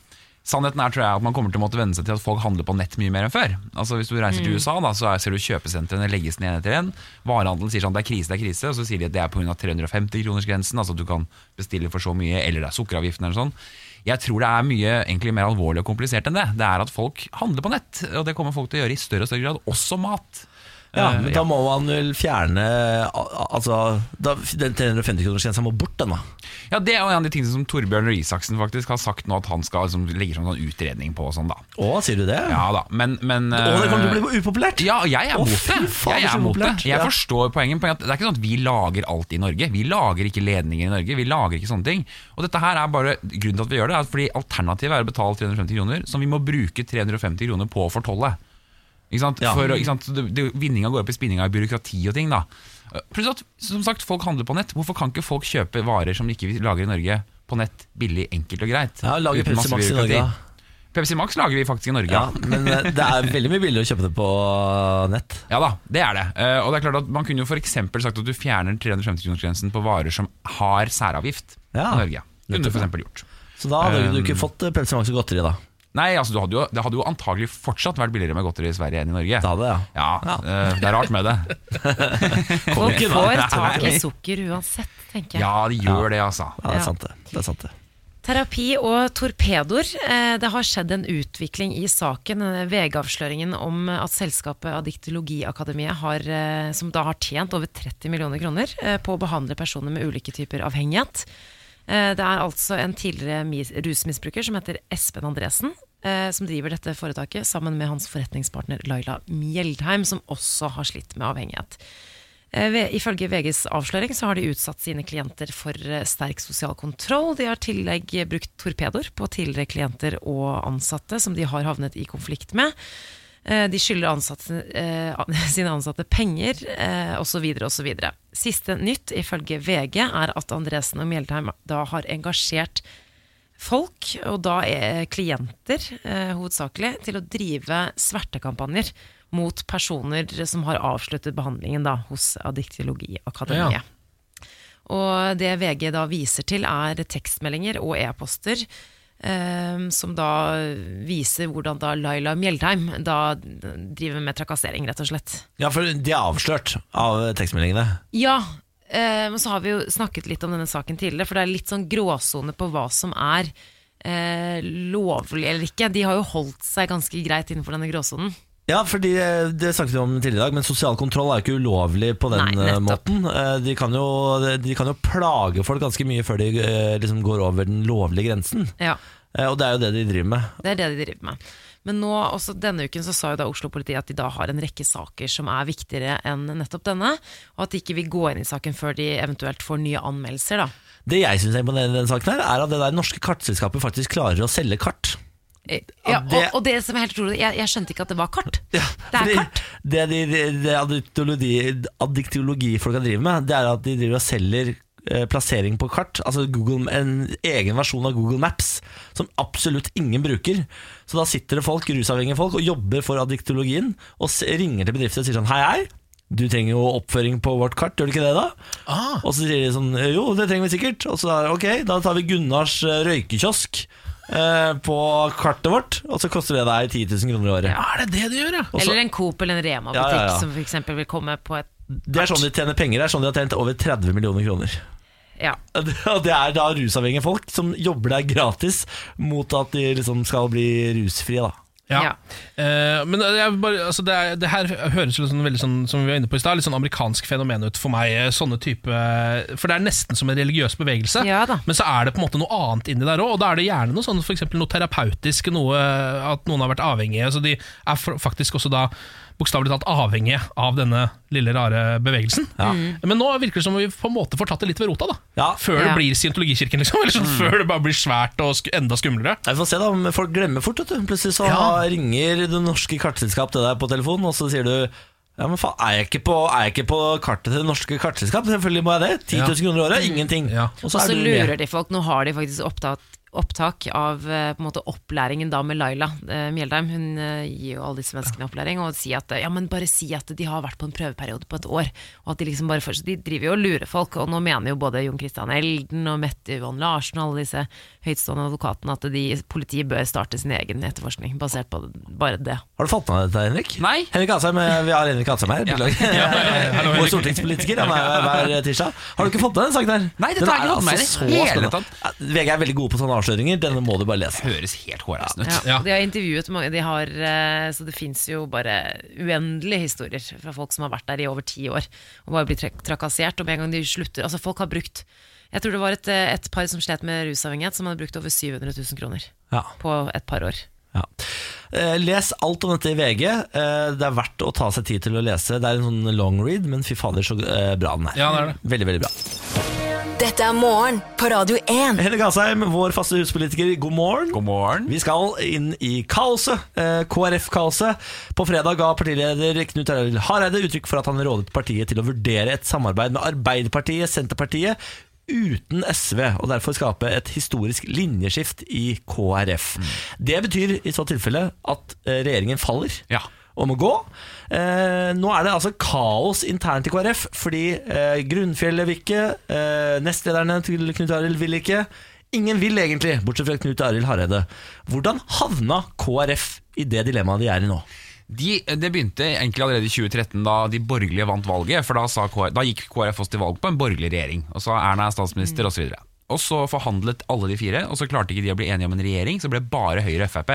sannheten er tror jeg at man kommer til å måtte venne seg til at folk handler på nett mye mer enn før. Altså Hvis du reiser til USA, da, så er- ser du kjøpesentrene legges ned en etter en. Varehandelen sier sånn det er krise, det er krise. Og så sier de at det er pga. 350-kronersgrensen, altså at du kan bestille for så mye, eller det er sukkeravgiften eller sånn. Jeg tror det er mye egentlig mer alvorlig og komplisert enn det. Det er at folk handler på nett, og det kommer folk til å gjøre i større og større grad, også mat.
Ja,
Eh,
men Da må man vel fjerne al- al- Altså, da, den 350-kronersgrensa må bort, den da.
Ja, Det er jo en av de tingene som Torbjørn Røe Isaksen faktisk har sagt nå, at han skal liksom, legge fram en sånn utredning på og sånn, da.
Å, sier du det?
Ja da, men, men
Å, det kommer til
eh,
å bli upopulært!
Ja, og jeg er
Å,
mot
fy
det.
faen,
Jeg
så
er mot det.
populært.
Jeg
Ja.
forstår poenget. poenget er at det er ikke sånn at vi lager alt i Norge. Vi lager ikke ledninger i Norge. Vi lager ikke sånne ting. Og dette her er bare Grunnen til at vi gjør det, er at fordi alternativet er å betale 350 kroner, som vi må bruke 350 kroner på å fortolle. Ikke sant?
Ja.
For, å- ikke sant? Det, det, vinninga går opp i spinninga i byråkrati og ting. da Pluss at som sagt, folk handler på nett. Hvorfor kan ikke folk kjøpe varer som ikke vi lager i Norge, på nett billig, enkelt og greit?
Ja, Lage
Uten
Pepsi
masse
Max i
byråkrati.
Norge, da.
Pepsi Max lager vi faktisk i Norge.
Ja, men eh, det er veldig mye billigere å kjøpe det på eh, nett.
Ja da, det er det. Eh, og det er klart at Man kunne jo for eksempel sagt at du fjerner 350-kronersgrensen på varer som har særavgift
Ja,
i Norge. Kunne du
nettopp,
for eksempel gjort.
Så da hadde du
Um,
ikke fått eh, Pepsi Max og godteri, da.
Nei, altså du hadde jo, Det hadde jo antagelig fortsatt vært billigere med godteri i Sverige enn i Norge.
Det hadde, ja.
Ja,
Ja.
eh, Det er rart med det.
Folk
Kongen, da.
får
Nei.
tak i sukker uansett, tenker jeg.
Ja, det gjør det, altså.
Ja, det
Ja.
er sant, det. det, er sant det.
Terapi og torpedoer. Eh, Det har skjedd en utvikling i saken. eh, VG-avsløringen om at selskapet Adiktologiakademiet, har, eh, som da har tjent over 30 millioner kroner eh, på å behandle personer med ulike typer avhengighet. Eh, Det er altså en tidligere mis- rusmisbruker som heter Espen Andresen, eh, som driver dette foretaket sammen med hans forretningspartner Laila Mjeldheim, som også har slitt med avhengighet. Eh, ved- Ifølge VGs avsløring så har de utsatt sine klienter for eh, sterk sosial kontroll. De har i tillegg eh, brukt torpedoer på tidligere klienter og ansatte som de har havnet i konflikt med. Eh, De skylder ansatte, eh, an- sine ansatte penger eh, osv. osv. Siste nytt ifølge VG er at Andresen og Mjeldheim da har engasjert folk, og da er klienter eh, hovedsakelig, til å drive svertekampanjer mot personer som har avsluttet behandlingen da, hos Addiktiologiakademiet.
Ja.
Og det VG da viser til er tekstmeldinger og e-poster eh, som da viser hvordan da Laila Mjeldheim da driver med trakassering, rett og slett.
Ja, for de er avslørt av tekstmeldingene.
Ja, eh, men så har vi jo snakket litt om denne saken tidligere, for det er litt sånn gråsone på hva som er eh, lovlig eller ikke. De har jo holdt seg ganske greit innenfor denne gråsonen.
Ja, fordi eh, Det snakket vi om tidligere i dag, men sosial kontroll er jo ikke ulovlig på den
Nei,
eh,
nettopp.
måten. Eh, De kan, jo, de kan jo plage folk ganske mye før de eh, liksom går over den lovlige grensen.
Ja,
Eh, Og det er jo det de driver med.
det er det de driver med. Men nå, også denne uken så sa jo da Oslo-politiet at de da har en rekke saker som er viktigere enn nettopp denne, og at de ikke vil gå inn i saken før de eventuelt får nye anmeldelser. da.
Det jeg syns er imponerende i denne saken, her er at det der norske kartselskapet faktisk klarer å selge kart.
Eh,
Ja,
Ja,
det-
og, og det som er helt utrolig, jeg, jeg skjønte ikke at det var kart. det
fordi
er kart.
Det, de, det addiktologi- addiktiologifolka driver med, det er at de driver og selger eh, plassering på kart, altså Google, en egen versjon av Google Maps, som absolutt ingen bruker. Så da sitter det folk, rusavhengige folk, og jobber for addiktologien, og s- ringer til bedrifter og sier sånn hei, hei, du trenger jo oppføring på vårt kart, gjør du ikke det da?
Ah.
Og så sier de sånn, jo, det trenger vi sikkert. Og så er det, ok, da tar vi Gunnars eh, røykekiosk eh, på kartet vårt, og så koster det deg 10 000 kroner i året.
Er det det de gjør, ja?
Og så-
Eller en Coop eller en Rema-butikk
Ja, ja, ja.
som for eksempel vil komme på et
Det er sånn de tjener penger. Det er sånn de har tjent over 30 millioner kroner.
Ja.
Og det er da rusavhengige folk som jobber der gratis mot at de liksom skal bli rusfrie, da.
Ja.
Ja.
Eh, men jeg vil bare, altså det, er, det her høres jo sånn, veldig sånn som vi var inne på i stad, litt sånn amerikansk fenomen ut for meg. eh, Sånne type For det er nesten som en religiøs bevegelse,
Ja da.
men så er det på en måte noe annet inni der òg. Og da er det gjerne noe sånn for eksempel noe terapeutisk, noe at noen har vært avhengige. Så de er for- faktisk også da bokstavelig talt avhengige av denne lille, rare bevegelsen. Men nå virker det som om vi på en måte får tatt det litt ved rota, da.
Ja.
Før det
Mm. Ja.
blir scientologikirken, liksom. Eller sånn, Før det bare blir svært og sk enda skumlere.
Nei, Vi får se, da. Men folk glemmer fort, vet du. Plutselig så
Ja.
ringer det norske kartselskap til deg på telefonen, og så sier du ja, men faen, er jeg, ikke på, er jeg ikke på kartet til det norske kartselskap? Selvfølgelig må jeg det. 10 000 kroner i året, ingenting.
Ja.
Og
Mm. Og
er du
så lurer
med.
de folk, nå har de faktisk opptatt, opptak av eh, på en måte opplæringen da med Laila eh, Mjeldheim. Hun eh, gir jo alle disse menneskene opplæring og sier at eh, ja, men bare si at de har vært på en prøveperiode på et år. Og at De liksom bare først, de driver jo og lurer folk, og nå mener jo både Jon Christian Elden og Mette Yvonne Larsen og alle disse høytstående advokatene at de, politiet bør starte sin egen etterforskning basert på bare det.
Har du fått med deg dette, Henrik?
Nei.
Henrik Asheim, eh, Vi har Henrik Asheim her. beklager.
Hallo,
Vår
Henrik.
stortingspolitiker. Han er her hver tirsdag. Har du ikke fått med deg den saken her?
Nei, dette
Den
har jeg ikke
er altså
fått med meg i det
så
hele
spennende. VG er veldig gode på sånne avsløringer. Denne må du bare lese.
Høres helt hårreisende ut.
Ja,
Ja.
De har intervjuet mange, de har, eh, så det fins jo bare uendelige historier fra folk som har vært der i over ti år og bare blir trak trakassert. Og med en gang de slutter Altså, folk har brukt Jeg tror det var et, eh, et par som slet med rusavhengighet, som hadde brukt over 700 000 kroner
Ja.
på et par år.
Ja. Eh, Les alt om dette i VG. Eh, Det er verdt å ta seg tid til å lese. Det er en sånn long read, men fy fader, så eh, bra den er.
Ja, det er det.
Veldig, veldig bra.
Dette er morgen på Radio 1.
Henrik Asheim, vår faste huspolitiker, god morgen.
God morgen.
Vi skal inn i kaoset, eh, KrF-kaoset. På fredag ga partileder Knut Arild Hareide uttrykk for at han rådet partiet til å vurdere et samarbeid med Arbeiderpartiet, Senterpartiet, uten SV, og derfor skape et historisk linjeskift i KrF. Det betyr i så tilfelle at eh, regjeringen faller.
Mm. Ja.
Om å gå. Eh, nå er det altså kaos internt i KrF, fordi eh, Grunnfjellet vil ikke, eh, nestlederne til Knut Arild vil ikke. Ingen vil egentlig, bortsett fra Knut Arild Hareide. Hvordan havna KrF i det dilemmaet de er i nå?
De, eh, det begynte egentlig allerede i 2013, da de borgerlige vant valget. For da, sa KrF, da gikk KrF også til valg på en borgerlig regjering. Og så Erna er statsminister,
Mm.
og så videre Og så forhandlet alle de fire, og så klarte ikke de å bli enige om en regjering. Så ble bare Høyre og Frp.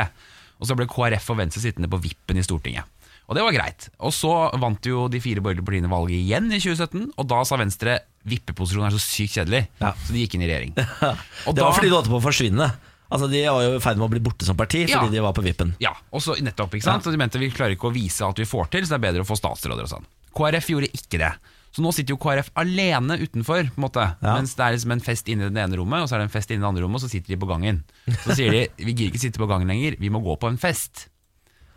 Og så ble KrF og Venstre sittende på vippen i Stortinget. Og det var greit. Og så vant jo de fire borgerlige partiene valget igjen i 2017, og da sa Venstre vippeposisjon er så sykt kjedelig,
Ja.
så de gikk inn i regjering. Og
Det var
da-
fordi de holdt på å forsvinne. Altså, De var jo i ferd med å bli borte som parti fordi
Ja.
de var på vippen.
Ja, og så nettopp, ikke sant? Så de mente vi klarer ikke å vise alt vi får til, så det er bedre å få statsråder og sånn. KrF gjorde ikke det. Så nå sitter jo KrF alene utenfor, på en måte.
Ja.
Mens det er liksom en fest inne i det ene rommet, og så er det en fest inne i det andre rommet, og så sitter de på gangen. Så sier de vi gir ikke sitte på gangen lenger, vi må gå på en fest.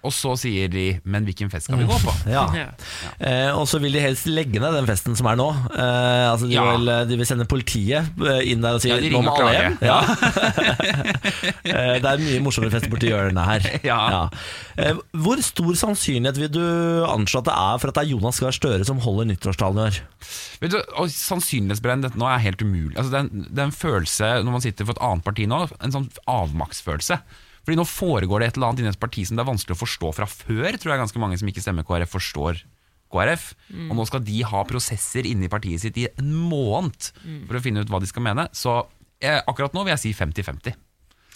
Og så sier de men hvilken
Mm.
fest skal vi gå på?
Ja.
Ja.
Eh, og så vil de helst legge ned den festen som er nå. Eh, altså de,
Ja.
vil, de vil sende politiet eh, inn der og si
Ja, de
nå
ringer
må
og
alle
klager.
hjem. Ja. Eh, det er mye morsommere fest borti hjørnet her.
Ja.
Eh, hvor stor sannsynlighet vil du anslå at det er for at det er Jonas Gahr Støre som holder nyttårstalen i år?
Vet du, og Sannsynlighetsberegnet dette nå er helt umulig. Altså, det, er en, det er en følelse når man sitter for et annet parti nå, en sånn avmaktsfølelse. Fordi nå foregår det et eller annet inni et parti som det er vanskelig å forstå fra før, tror jeg ganske mange som ikke stemmer KrF, forstår KrF. Og nå skal de ha prosesser inni partiet sitt i en måned for å finne ut hva de skal mene. Så eh, akkurat nå vil jeg si 50-50.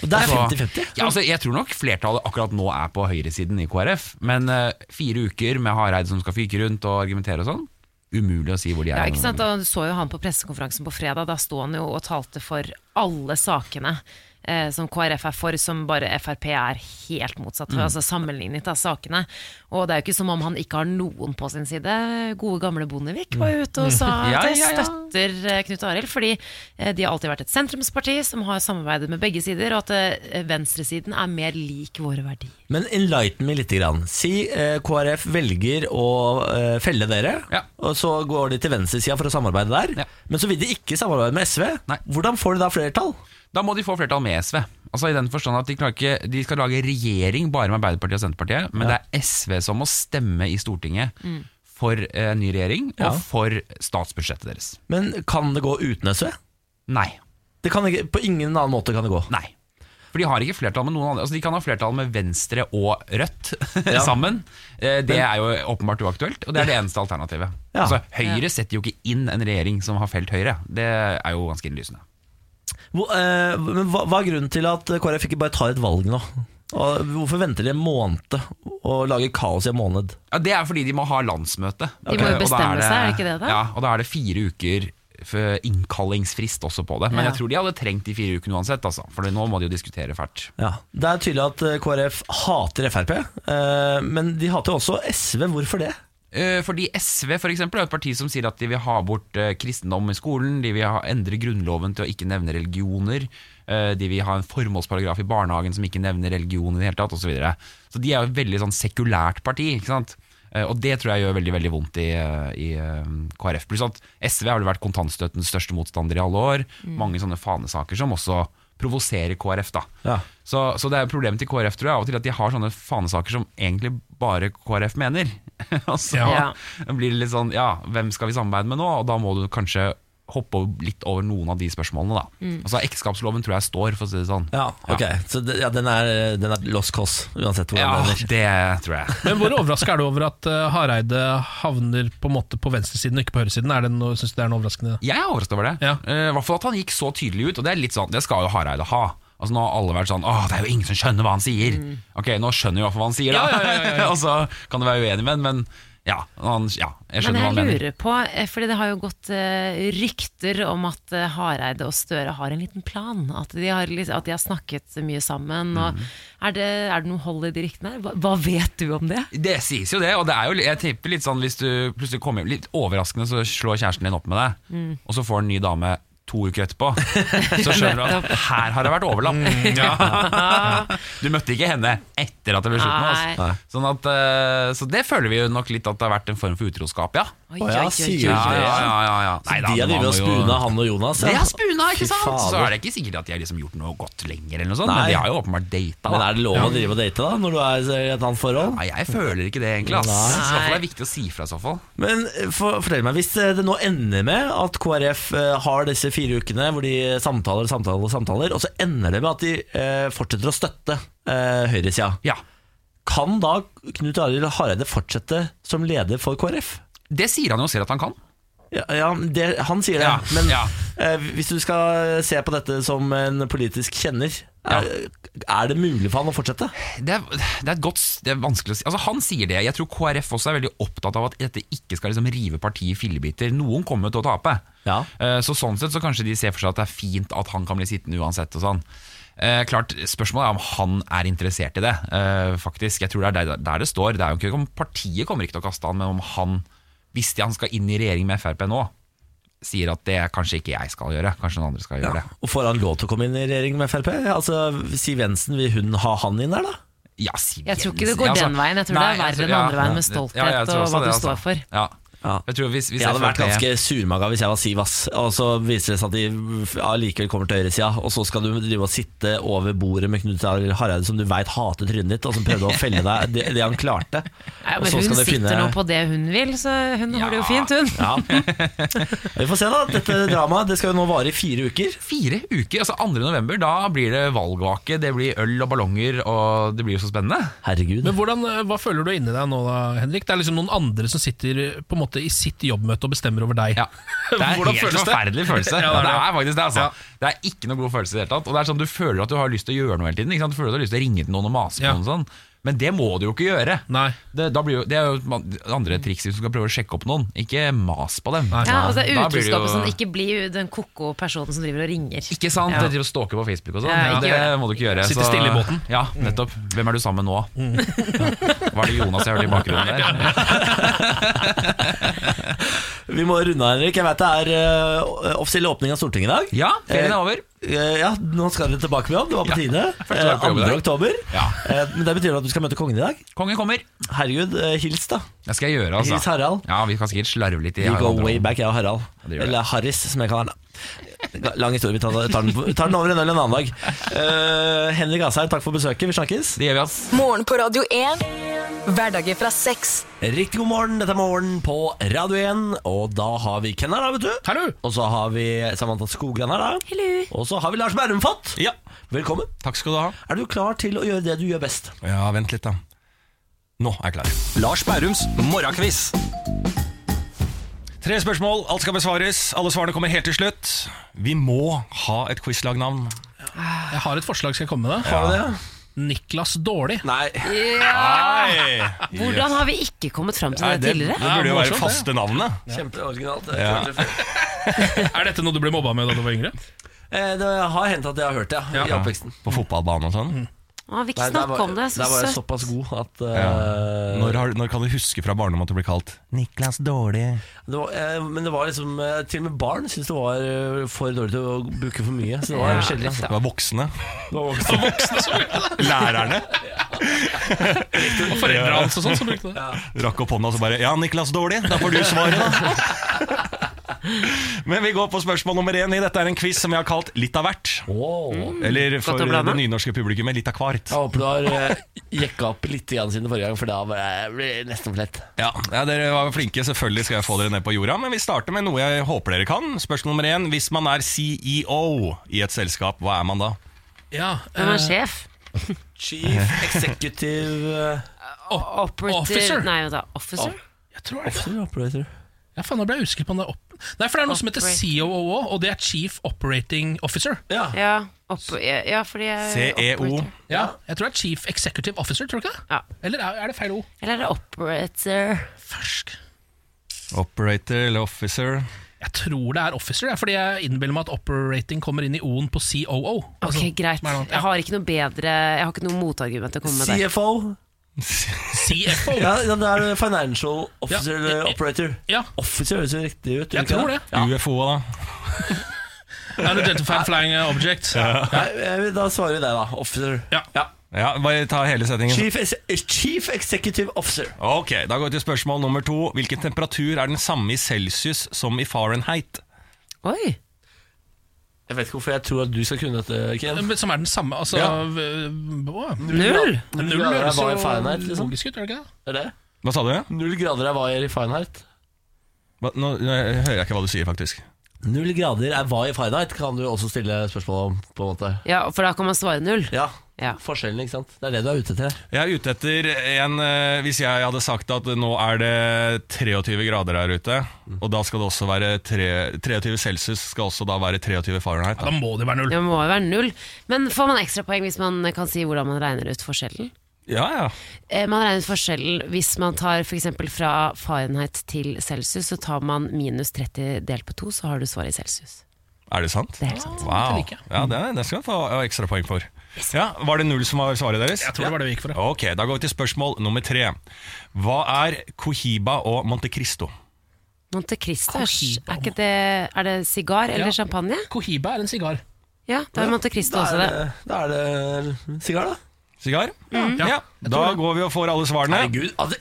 Det er
Altså-
50-50.
Ja, altså, jeg tror nok flertallet akkurat nå er på høyresiden i KrF, men eh, fire uker med Hareide som skal fyke rundt og argumentere og sånn, umulig å si hvor de er.
Ja, ikke sant? Da Du så jo han på pressekonferansen på fredag. Da sto han jo og talte for alle sakene eh, som KrF er for, som bare Frp er helt motsatt
Mm.
for. Altså sammenlignet av sakene. Og det er jo ikke som om han ikke har noen på sin side. Gode gamle Bondevik var jo ute og sa
Mm. Ja,
at jeg
ja, ja.
støtter eh, Knut Arild, fordi eh, de har alltid vært et sentrumsparti som har samarbeidet med begge sider, og at eh, venstresiden er mer lik våre verdier.
Men enlighten meg litt. Grann. Si eh, KrF velger å eh, felle dere,
Ja.
og så går de til venstresida for å samarbeide der.
Ja.
Men så vil de ikke samarbeide med SV.
Nei.
Hvordan får de da flertall?
Da må de få flertall med SV. Altså i den forstand at De, klarer ikke, de skal lage regjering bare med Arbeiderpartiet og Senterpartiet, men det er SV som må stemme i Stortinget for eh, ny regjering
Mm.
og
Ja.
for statsbudsjettet deres.
Men kan det gå uten SV?
Nei.
Det kan ikke, på ingen annen måte kan det gå.
Nei. For de har ikke flertall med noen andre. Altså De kan ha flertall med Venstre og Rødt sammen. Eh, Det er jo åpenbart uaktuelt, og det er det eneste alternativet.
Ja.
Altså Høyre setter jo ikke inn en regjering som har felt Høyre. Det er jo ganske innlysende.
Hvor, eh, men hva, hva er grunnen til at KrF ikke bare tar et valg nå? Og hvorfor venter de en måned og lager kaos i en måned?
Ja, Det er fordi de må ha landsmøte.
De må jo
Eh, og da
bestemme seg, er det ikke det da?
Ja, og da er det fire uker for innkallingsfrist også på det. Men
Ja.
jeg tror de hadde trengt de fire ukene uansett, altså. for nå må de jo diskutere fælt.
Ja, Det er tydelig at eh, KrF hater Frp, eh, men de hater jo også SV. Hvorfor det?
Eh, Fordi SV for eksempel, er et parti som sier at de vil ha bort eh, kristendom i skolen, de vil ha, endre grunnloven til å ikke nevne religioner, eh, de vil ha en formålsparagraf i barnehagen som ikke nevner religion i det hele tatt, osv. Så, videre. så de er jo et veldig sånn sekulært parti. ikke sant? Eh, Og det tror jeg gjør veldig veldig vondt i, eh, i eh, KrF. Pluss at SV har vel vært kontantstøttens største motstander i alle år. Mange sånne fanesaker som også provoserer KrF. da.
Ja.
Så, så det er jo problemet til KrF tror jeg, av og til at de har sånne fanesaker som egentlig bare KrF mener. og så
Ja.
blir det litt sånn ja, hvem skal vi samarbeide med nå? Og da må du kanskje hoppe over- litt over noen av de spørsmålene, da.
Mm.
Altså ekteskapsloven tror jeg står, for å si det sånn.
Ja, ok. Så det, ja, den, er, den er lost cause, uansett hvor
Ja,
den ender.
det tror jeg.
Men hvor overraska er du over at eh, Hareide havner på en måte på venstresiden og ikke på høyresiden? Er det noe, synes du det er noe overraskende?
Jeg er overrasket over det.
Ja.
Eh, I hvert fall at han gikk så tydelig ut, og det er litt sånn, det skal jo Hareide ha. Altså Nå har alle vært sånn Åh, det er jo ingen som skjønner hva han sier.
Mm.
Ok, nå skjønner vi i hvert fall hva han sier, da. og så kan du være uenig med han, men ja, han, ja jeg
Men
skjønner
jeg
hva han mener.
lurer på, eh, fordi det har jo gått eh, rykter om at eh, Hareide og Støre har en liten plan. At de har, litt- at de har snakket mye sammen.
Mhm.
Og er, det, er det noe hold i de ryktene? her? Hva, hva vet du om det?
Det sies jo det, og det er jo, jeg tipper litt sånn hvis du plutselig kommer hjem litt overraskende, så slår kjæresten din opp med deg, og så får en ny dame to uker etterpå. Så skjønner du at her har det vært overlapp. Du møtte ikke henne etter at det ble slutt med
Nei.
oss. Sånn at, eh, så det føler vi jo nok litt at det har vært en form for utroskap, ja.
Oi,
Å,
oi,
ja,
oi,
sier
oi.
du det?
ja. Nei da,
de har drevet
men
og
han må jo-
spuna, han og Jonas.
De har spuna, ikke
Fy
sant?
fader.
Så er det ikke sikkert at de har liksom gjort noe godt lenger, eller noe sånt,
Nei.
men de har jo åpenbart data.
Men
da.
er det lov å drive og date da, når du er i et annet forhold?
Nei, jeg føler ikke det, egentlig. Ass.
Nei.
Så i hvert fall er det viktig å si fra, i så fall.
Men eh, for, fortell meg, hvis eh, det nå ender med at KrF eh, har disse fire ukene hvor de samtaler, samtaler, samtaler, og så ender det med at de eh, fortsetter å støtte eh, høyresida,
Ja.
kan da Knut Arild Hareide fortsette som leder for KrF?
Det sier han jo selv at han kan.
Ja, ja det, han sier det,
Ja,
men
ja.
eh, hvis du skal se på dette som en politisk kjenner, er, er det mulig for han å fortsette?
Det er, det er et godt s- Det er vanskelig å si. Altså, han sier det. Jeg tror KrF også er veldig opptatt av at dette ikke skal liksom rive partiet i fillebiter. Noen kommer til å tape.
Ja.
Eh, Så sånn sett så kanskje de ser for seg at det er fint at han kan bli sittende uansett og sånn. Eh, klart, Spørsmålet er om han er interessert i det, eh, faktisk. Jeg tror det er der, der det står. Det er jo ikke om Partiet kommer ikke til å kaste han, men om han, hvis han skal inn i regjering med Frp nå, sier at det kanskje ikke jeg skal gjøre, kanskje noen andre skal gjøre det.
Og får han lov til å komme inn i regjering med Frp? Altså, Siv Jensen, vil hun ha han inn der, da?
Ja, Siv
Jeg tror ikke
Jensen.
det går
Ja,
den veien. Jeg tror det er verre enn andre veien med stolthet
jeg
og
tror også altså.
hva du står for.
Ja.
Ja.
Jeg tror hvis, hvis
Jeg hadde
Frp
vært ganske surmaga hvis jeg var Siv, ass. Og så viser det seg at de f- allikevel kommer til høyresida, og så skal du drive og sitte over bordet med Knut Arild Hareide, som du veit hater trynet ditt, og som prøvde å felle deg det, det han klarte.
Nei,
Og
men
så
hun
skal
sitter
du finne-
nå på det hun vil, så hun har det jo fint, hun.
Ja. Vi får se, da. Dette dramaet det skal jo nå vare i fire uker.
Fire uker, altså 2. november, da blir det valgvake, det blir øl og ballonger, og det blir jo så spennende.
Herregud.
Men hvordan, eh, Hva føler du inni deg nå da, Henrik? Det er liksom noen andre som sitter på en måte måte i sitt jobbmøte og bestemmer over deg.
Ja. Det er en
Hvordan
helt
føles det?
forferdelig følelse.
Ja, det er
det,
det.
er faktisk det, altså. Det er ikke noe god følelse i det hele tatt. Og det er sånn, Du føler at du har lyst til å gjøre noe hele tiden. Ikke sant? Du føler at du har lyst til å ringe til noen og mase på
Ja.
noen. Sånn. Men det må du jo ikke gjøre.
Nei.
Det, da blir jo, det er jo man- det andre triks hvis du skal prøve å sjekke opp noen. Ikke mas på dem.
Ja, og så er
Da blir det jo-
utroskapet sånn, ikke bli den koko personen som driver og ringer.
Ikke sant?
Ja.
Jeg driver og stalker på Facebook og sånn.
Ja, ikke
det
gjør det.
må du ikke gjøre.
Sitte stille i båten.
Ja, nettopp. Hvem er du sammen med nå?
Mm.
Var det Jonas jeg hørte i bakgrunnen der?
Vi må runde av, Henrik. Jeg vet det er eh, offisiell åpning av Stortinget i dag.
Ja, ferien er
Eh,
over.
Eh, Ja, nå skal dere tilbake på jobb. Det var på tide.
første dag på jobb i
2.
dag.
oktober.
Ja.
Eh, Men det betyr at du skal møte kongen i dag.
Kongen kommer.
Herregud, eh, hils, da.
Det skal jeg gjøre, altså.
Hils Harald.
Ja, vi kan sikkert slarve litt i
Vi går
Harald.
way back, jeg og Harald.
det gjør
Eller Harris, som jeg kaller han. da. Lang historie. Vi tar, tar, den, tar den over en øl en annen dag. Eh, Henrik Asheim, takk for besøket. Vi snakkes.
Det gjør vi, ass.
Morgen på Radio 1. Hverdager fra seks.
Riktig god morgen. Dette er Morgen på Radio 1. Og da har vi Ken her, da, vet du.
Hallo!
Og så har vi Samantha Skogran her, da.
Hello.
Og så har vi Lars Berrum Fott.
Ja.
Velkommen.
Takk skal du ha.
Er du klar til å gjøre det du gjør best?
Ja, vent litt, da. Nå er jeg klar. Lars Bærums morgenkviss. Tre spørsmål, alt skal besvares. Alle svarene kommer helt til slutt. Vi må ha et quizlagnavn.
Jeg har et forslag, skal jeg komme med det?
Har du det?
Niklas Dårlig.
Nei.
Hvordan har vi ikke kommet fram til
Nei,
det
det, det
tidligere?
burde jo
Ja,
være
morsomt,
faste navnet.
Kjempeoriginalt.
Ja.
Er dette noe du ble mobba med da du var yngre?
Eh, Det har hendt at jeg har hørt det ja, i
Ja.
oppveksten.
På fotballbanen og sånn.
Å, vi
Nei,
ikke snakke om det. Så
der var jeg
søtt.
såpass god at eh,
Når, har, når kan du huske fra barndommen at du ble kalt Niklas Dårlig?
det var, eh, Men det var liksom eh, Til og med barn syntes det var eh, for dårlig til å bruke for mye. Så det var sjelden.
Det var voksne.
altså.
Lærerne.
Og foreldra hans og sånn som brukte det.
Rakk opp hånda og så bare Ja, Niklas Dårlig, da får du svaret, da. Men vi går på spørsmål nummer én. i. Dette er en quiz som jeg har kalt Litt av hvert.
Wow.
Eller for
å blande.
det nynorske publikummet Litt av hvert.
Jeg håper du har eh, jekka opp litt igjen siden forrige gang, for da var jeg- ble jeg nesten for lett.
Ja, ja, Dere var flinke. Selvfølgelig skal jeg få dere ned på jorda. Men vi starter med noe jeg håper dere kan. Spørsmål nummer én. Hvis man er CEO i et selskap, hva er man da?
Ja, eh,
Hvem er sjef?
Chief executive eh,
Operator
Officer.
Nei, vent da. Officer?
jeg tror det.
officer, operator.
Ja, faen, nå ble jeg usikker på om det er opp... Nei, for det er noe som heter
Operate.
COO, og det er Chief Operating Officer.
Ja.
Ja, opp, ja, fordi jeg
CEO.
operator.
Ja, jeg tror det er Chief Executive Officer, tror du ikke det?
Ja.
Eller er, er det feil ord?
Eller er det operator?
Fersk.
Operator eller officer.
Jeg tror det er officer, ja, fordi jeg innbiller meg at operating kommer inn i O-en på COO.
Ok,
Altså,
greit.
som er noe-
Jeg har ikke noe bedre Jeg har ikke noe motargument å komme med
E
der.
CFO.
CFO.
Ja, ja, det er financial officer
Ja.
eller operator.
Ja,
Officer høres jo riktig ut. gjør
jeg
ikke
tror det.
UFO-a, da.
Unidentified Flying Object.
Nei, eh, da svarer vi deg, da. Officer.
Ja.
Ja, Bare ta hele settingen.
Chief, ex- eh, Chief Executive Officer.
Ok, Da går vi til spørsmål nummer to. Hvilken temperatur er den samme i celsius som i Fahrenheit?
Oi!
Jeg vet ikke hvorfor jeg tror at du skal kunne dette, Ken.
Men Som er den samme, altså
Ja.
v- hva?
Null!
Null
Null
grader
høres
er hva i Fahrenheit,
jo
liksom.
logisk ut, gjør det ikke det?
Er det?
Hva sa du?
Null grader er hva i Fahrenheit?
Hva- Nå, nå hører jeg ikke hva du sier, faktisk.
Null grader er hva i Fahrenheit, kan du også stille spørsmål om, på en måte.
Ja, for da kan man svare null.
Ja,
Ja.
forskjellen, ikke sant. Det er det du er ute etter.
Jeg er ute etter en eh, Hvis jeg hadde sagt at nå er det 23 grader her ute, og da skal det også være tre, 23 celsius, skal også da være 23 Fahrenheit.
Ja, da
Da.
må det være null.
Det må jo være null. Men får man ekstrapoeng hvis man kan si hvordan man regner ut forskjellen?
Ja, ja.
Eh, Man regner ut forskjellen hvis man tar f.eks. fra Fahrenheit til celsius, så tar man minus 30 delt på 2, så har du svaret i celsius.
Er det sant?
Det er helt sant.
Wow.
liker jeg.
Ja, det, det skal jeg få ja, ekstrapoeng for. Ja, Var det null som var svaret deres?
Jeg tror det var det vi gikk for. ja.
Ok, Da går vi til spørsmål nummer tre. Hva er Cohiba og Monte Cristo?
Monte Cristo, er s-
Cohiba.
er, ikke det, er det sigar eller
Ja.
champagne?
Cohiba er en sigar.
Ja, da er Monte Cristo
Da
også
er
det.
det, da er det sigar, da.
Sigar?
Mm. Ja.
Ja, Da går vi og får alle svarene.
Herregud, altså,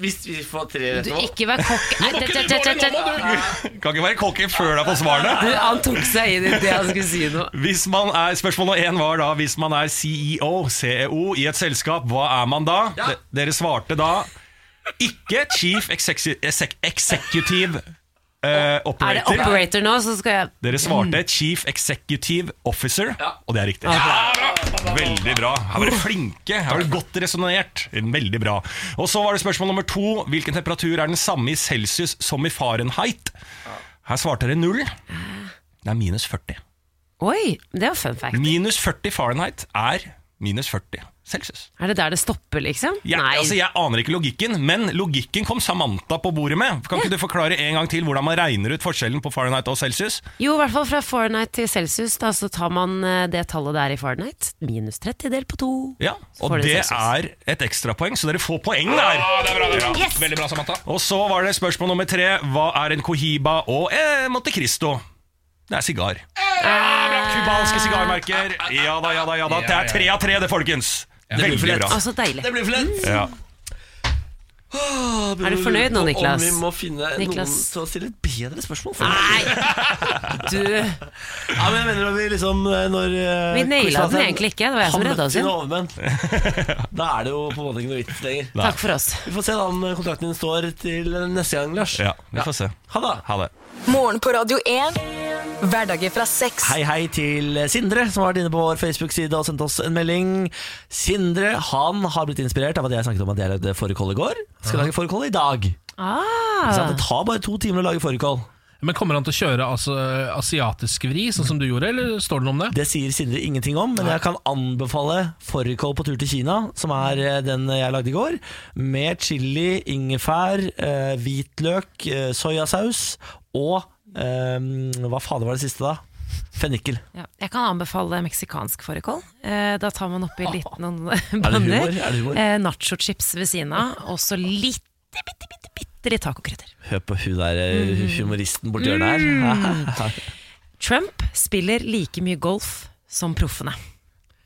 hvis vi får tre
Du,
rette nå
ikke vær kokk... Nei,
Nå må
tett,
ikke du
tett,
gå
tett,
inn, nå må
tett.
du-
Kan ikke være cocky før du er på svarene.
Du, Han tok seg inn i det han skulle si nå.
Hvis man er, spørsmål nummer én var da Hvis man er E CEO, CEO i et selskap, hva er man da? De- Dere svarte da ikke Chief Execu- Exec- Executive eh,
Er det Mm.
operator.
operator nå, så skal jeg
Dere svarte Chief Executive Officer, og det er riktig. Veldig bra. Her
Uh.
var dere flinke. Her var det godt resonnert. Veldig bra. Og så var det spørsmål nummer to. Hvilken temperatur er den samme i celsius som i Fahrenheit? Her svarte dere null. Det er minus 40.
Oi, det var fun fact.
Minus 40 Fahrenheit er minus 40 celsius.
Er det der det stopper, liksom?
Jeg,
Nei.
altså, jeg aner ikke logikken, men logikken kom Samantha på bordet med. Kan ikke du forklare en gang til hvordan man regner ut forskjellen på Fahrenheit og celsius?
Jo, i hvert fall fra Fahrenheit til Celsius, da, så tar man eh, det tallet der i Fahrenheit. Minus 30 delt på to.
Ja,
Så
og
får dere
det
Celsius.
er et ekstrapoeng, så dere får poeng der.
Yes!
Veldig bra, Samantha.
Og så var det spørsmål nummer tre. Hva er en cohiba og eh, Monte Cristo? Det er sigar. Cubanske sigarmerker. Ja da, ja da, ja da. Det er tre av tre, det, folkens. Veldig bra.
Å, så deilig.
Det blir for lett!
Ja.
Er Mm. du fornøyd nå,
Om
Niklas?
vi må finne noen
Niklas?
til å stille et bedre spørsmål for
Nei! Du,
Ja, men jeg mener når vi liksom eh, når, eh,
Vi naila
Kristian-
den egentlig ikke, det var jeg som
han
redda
møtte
oss
sine
igjen.
overmenn. Da er det jo på en måte ikke noe vits lenger.
takk for oss.
Vi får se da om kontrakten din står til neste gang, Lars.
ja, vi får se.
Ha det.
Ha det.
Morgen på Radio 1. Hverdager fra seks.
Hei, hei til Sindre, som har vært inne på vår Facebook-side og sendt oss en melding. Sindre han har blitt inspirert av at jeg snakket om at jeg lagde fårikål i går. Skal lage fårikål i dag. Ikke sant?
Ah,
Det tar bare to timer å lage fårikål.
Men Kommer han til å kjøre altså, asiatisk vri, sånn som du gjorde, eller står det noe om det?
Det sier Sindre ingenting om, men jeg kan anbefale fårikål på tur til Kina, som er eh, den jeg lagde i går, med chili, ingefær, eh, hvitløk, eh, soyasaus og eh, Hva faen var det siste, da? Fennikel.
ja. Jeg kan anbefale meksikansk fårikål. Eh, da tar man oppi litt noen
Er det humor?
bønner.
Er det humor?
Eh, Nachochips ved siden av, og så litt, bitte, bitte, bitte litt tacokrydder.
Hør på hun der eh, humoristen borti hjørnet her.
Trump spiller like mye golf som proffene.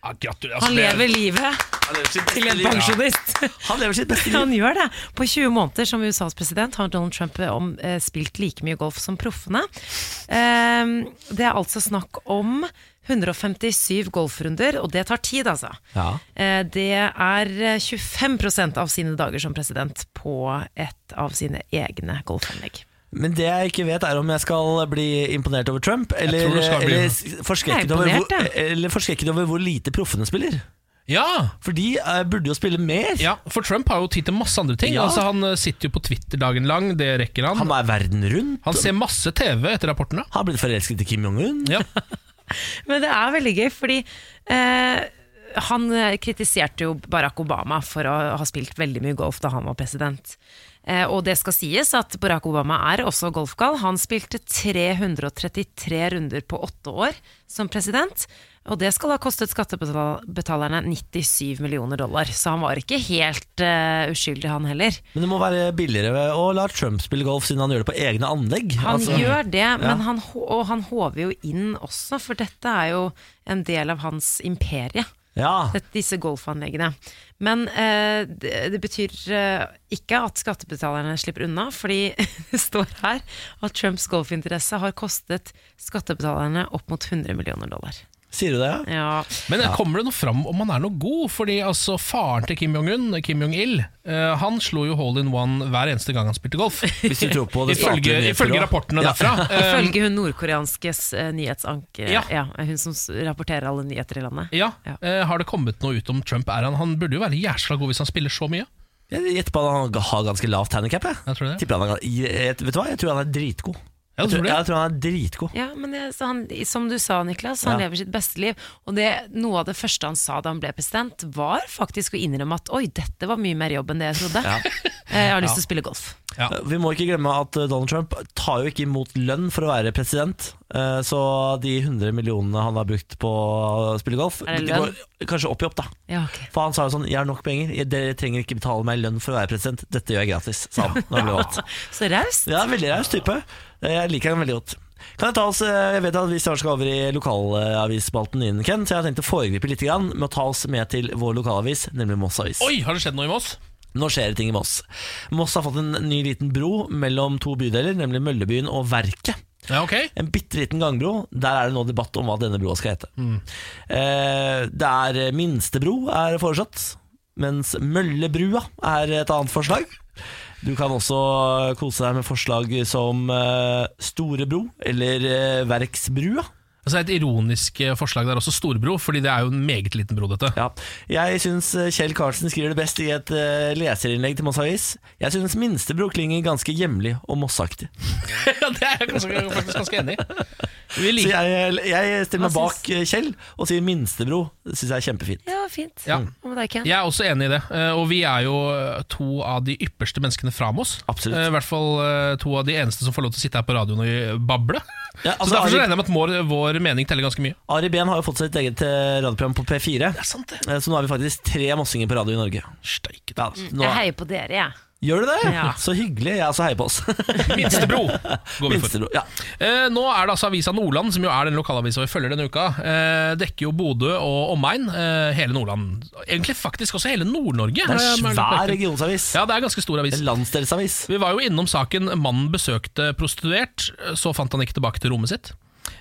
Ah, gratulerer.
Han
det-
lever livet
Han lever sitt
til
beste
en
liv.
pensjonist.
Han lever sitt beste liv.
Han gjør det. På 20 måneder som USAs president har Donald Trump om, eh, spilt like mye golf som proffene. Ehm, det er altså snakk om 157 golfrunder, og det tar tid, altså.
Ja.
Eh, det er eh, 25 av sine dager som president på et av sine egne golfanlegg.
Men det jeg ikke vet, er om jeg skal bli imponert over Trump, eller,
tror du skal bli
eller,
det.
s- forskrekket,
Jeg er
over
imponert,
hvor,
jeg.
eller forskrekket over hvor lite proffene spiller.
Ja,
For de eh, burde jo spille mer.
ja, for Trump har jo tid til masse andre ting.
Ja.
Altså, han eh, sitter jo på Twitter dagen lang, det rekker han.
Han er verden rundt.
Han ser masse TV etter rapportene.
Han har blitt forelsket i Kim Jong-un.
Ja.
Men det er veldig gøy, fordi eh, han eh, kritiserte jo Barack Obama for å ha spilt veldig mye golf da han var president. Eh, og det skal sies at Barack Obama er også golfgal. Han spilte 333 runder på åtte år som president. Og det skal ha kostet skattebetalerne 97 millioner dollar, så han var ikke helt eh, uskyldig, han heller.
Men det må være billigere å la Trump spille golf, siden han gjør det på egne anlegg.
Han
Altså,
gjør det, men han, hå- og han håver jo inn også, for dette er jo en del av hans imperie.
ja.
Sett disse golfanleggene. Men eh, det, det betyr eh, ikke at skattebetalerne slipper unna, fordi det står her at Trumps golfinteresse har kostet skattebetalerne opp mot 100 millioner dollar.
Sier du det? ja?
Ja.
Men det kommer det noe fram om han er noe god? Fordi altså faren til Kim Jong-un, Kim Jong-il, eh, han slo jo hole in one hver eneste gang han spilte golf.
Hvis du tror på det
Ifølge,
statlige
ifølge
nyhetsbyrået.
rapportene derfra. Eh,
Ifølge hun nordkoreanskes eh, nyhetsanker,
Ja.
ja. hun som s- rapporterer alle nyheter i landet.
ja,
Ja.
eh, Har det kommet noe ut om Trump? Er han, han burde jo være jæsla god hvis han spiller så mye.
Jeg gjetter på at han har ganske lavt handikap. Jeg.
Jeg tror det.
Tipper han er, jeg, vet du hva, jeg tror han er dritgod.
Ja, du
jeg,
tror det?
tror, jeg tror han er dritgod.
Ja, men det, så han, Som du sa, Niklas, han
Ja.
lever sitt beste liv. Og det, noe av det første han sa da han ble president, var faktisk å innrømme at oi, dette var mye mer jobb enn det jeg trodde. Eh, Jeg har lyst til å spille golf.
Ja.
Vi må ikke glemme at eh, Donald Trump tar jo ikke imot lønn for å være president. Eh, Så de 100 millionene han har brukt på å spille golf,
Er det
de går kanskje opp i opp, da.
Ja, ok.
For han sa jo sånn, jeg har nok penger, jeg- dere trenger ikke betale meg lønn for å være president, dette gjør jeg gratis, sa han når han ble valgt.
Så raust.
Ja, veldig raus type. Eh, Jeg liker han veldig godt. Kan jeg ta oss, eh, jeg vet at vi snart skal over i lokalavisspalten din, Ken, så jeg har tenkt å foregripe litt grann med å ta oss med til vår lokalavis, nemlig Moss Avis.
Oi, har det skjedd noe i Moss?
Nå skjer det ting i Moss. Moss har fått en ny liten bro mellom to bydeler, nemlig Møllebyen og Verket.
Ja, ok
En bitte liten gangbro. Der er det nå debatt om hva denne broa skal hete. Eh, det er minstebro er foreslått, mens Møllebrua er et annet forslag. Du kan også kose deg med forslag som eh, Storebro eller eh, Verksbrua.
Altså Et ironisk eh, forslag der også, Storbro, fordi det er jo en meget liten bro, dette.
Ja. Jeg syns eh, Kjell Karlsen skriver det best i et eh, leserinnlegg til Moss Avis. Jeg synes Minstebro klinger ganske hjemlig og mossaktig.
Ja, det er jeg ganske- faktisk ganske enig i. Vi
Så
liker
jeg, jeg stiller meg
Hva
bak eh, Kjell og sier Minstebro. Det syns jeg er kjempefint.
Ja, fint.
Ja.
Hva med deg, Ken?
Jeg er også enig i det. eh, Og vi er jo eh, to av de ypperste menneskene fra Moss.
Absolutt.
Eh, I hvert fall eh, to av de eneste som får lov til å sitte her på radioen og bable.
Ja, altså,
så derfor så
Ari-
regner jeg med at vår, vår mening teller ganske mye.
Ari Behn har jo fått sitt eget eh, radioprogram på P4.
er sant, det.
Eh, Så nå har vi faktisk tre mossinger på radio i Norge.
Steike
Ja,
ta.
nå,
Jeg heier på dere, jeg.
gjør du det?
Ja.
Så hyggelig. Jeg også heier på oss.
Minstebro går vi for.
Minstebro. Ja.
Eh, nå er det altså Avisa Nordland, som jo er den lokalavisa vi følger denne uka. Eh, dekker jo Bodø og omegn. Eh, hele Nordland. Egentlig faktisk også hele Nord-Norge.
Det er
Eh,
en
men-
svær regionsavis.
Ja, det er ganske stor avis.
En landsdelsavis.
Vi var jo innom saken mannen besøkte prostituert, så fant han ikke tilbake til rommet sitt.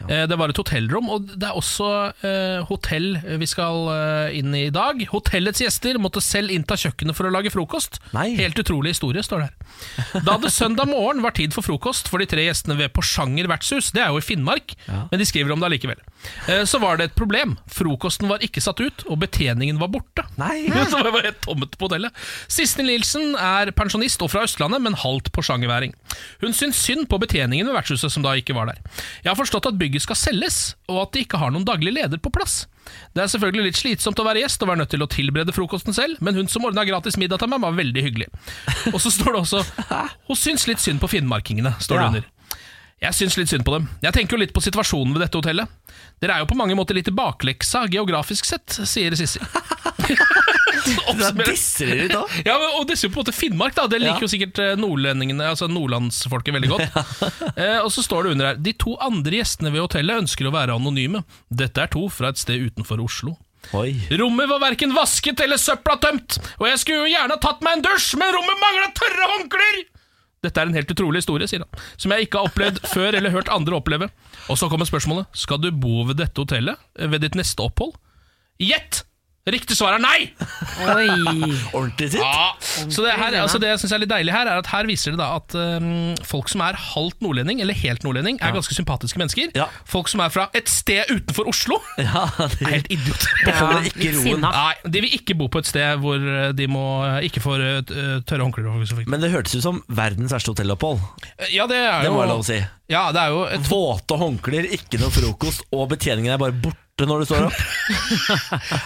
Eh, Det var et hotellrom, og det er også eh, hotell vi skal eh, inn i i dag. Hotellets gjester måtte selv innta kjøkkenet for å lage frokost.
Nei.
Helt utrolig historie, står det her. Da det søndag morgen var tid for frokost for de tre gjestene ved Porsanger vertshus, det er jo i Finnmark, men de skriver om det allikevel, eh, så var det et problem. Frokosten var ikke satt ut, og betjeningen var borte.
Nei.
Så det var helt tomt på hotellet. Sissel Nilsen er pensjonist og fra Østlandet, men halvt porsangerværing. Hun syns synd på betjeningen ved vertshuset, som da ikke var der. Jeg har forstått at bygget skal selges, og at de ikke har noen daglig leder på plass. Det er selvfølgelig litt slitsomt å være gjest og være nødt til å tilberede frokosten selv, men hun som ordna gratis middag til meg, var veldig hyggelig. Og så står det også Hun syns litt synd på finnmarkingene, står det
Ja.
under. Jeg syns litt synd på dem. Jeg tenker jo litt på situasjonen ved dette hotellet. Dere er jo på mange måter litt i bakleksa geografisk sett, sier Sissel.
Da
Oppsummerer-
disser de litt òg.
ja, men, og disse på en måte Finnmark, da. Det liker
Ja.
jo sikkert eh, nordlendingene, altså nordlandsfolket veldig godt. eh, og så står det under her De to andre gjestene ved hotellet ønsker å være anonyme. Dette er to fra et sted utenfor Oslo.
Oi.
Rommet var verken vasket eller søpla tømt, og jeg skulle jo gjerne ha tatt meg en dusj, men rommet mangla tørre håndklær! Dette er en helt utrolig historie, sier han, som jeg ikke har opplevd før eller hørt andre oppleve. Og så kommer spørsmålet, skal du bo ved dette hotellet eh, ved ditt neste opphold? Gjett! Riktig svar er nei!
Oi.
Ordentlig sitt.
Ja, så det, her, altså det jeg synes er litt deilig her, er at her viser det da at øhm, folk som er halvt nordlending, eller helt nordlending, er ganske sympatiske mennesker.
Ja.
Folk som er fra et sted utenfor Oslo,
Ja,
er
det
helt idioter.
holder
Ja,
ikke
litt
roen.
sinna.
Nei, de vil ikke bo på et sted hvor øh, de må øh, ikke får øh, t- øh, tørre håndklær. og så videre.
Men det hørtes ut som verdens verste hotellopphold.
Ja, det er jo
Det må jeg lov å si.
Ja, det er jo et
Våte håndklær, ikke noe frokost, og betjeningen er bare borte når du står opp.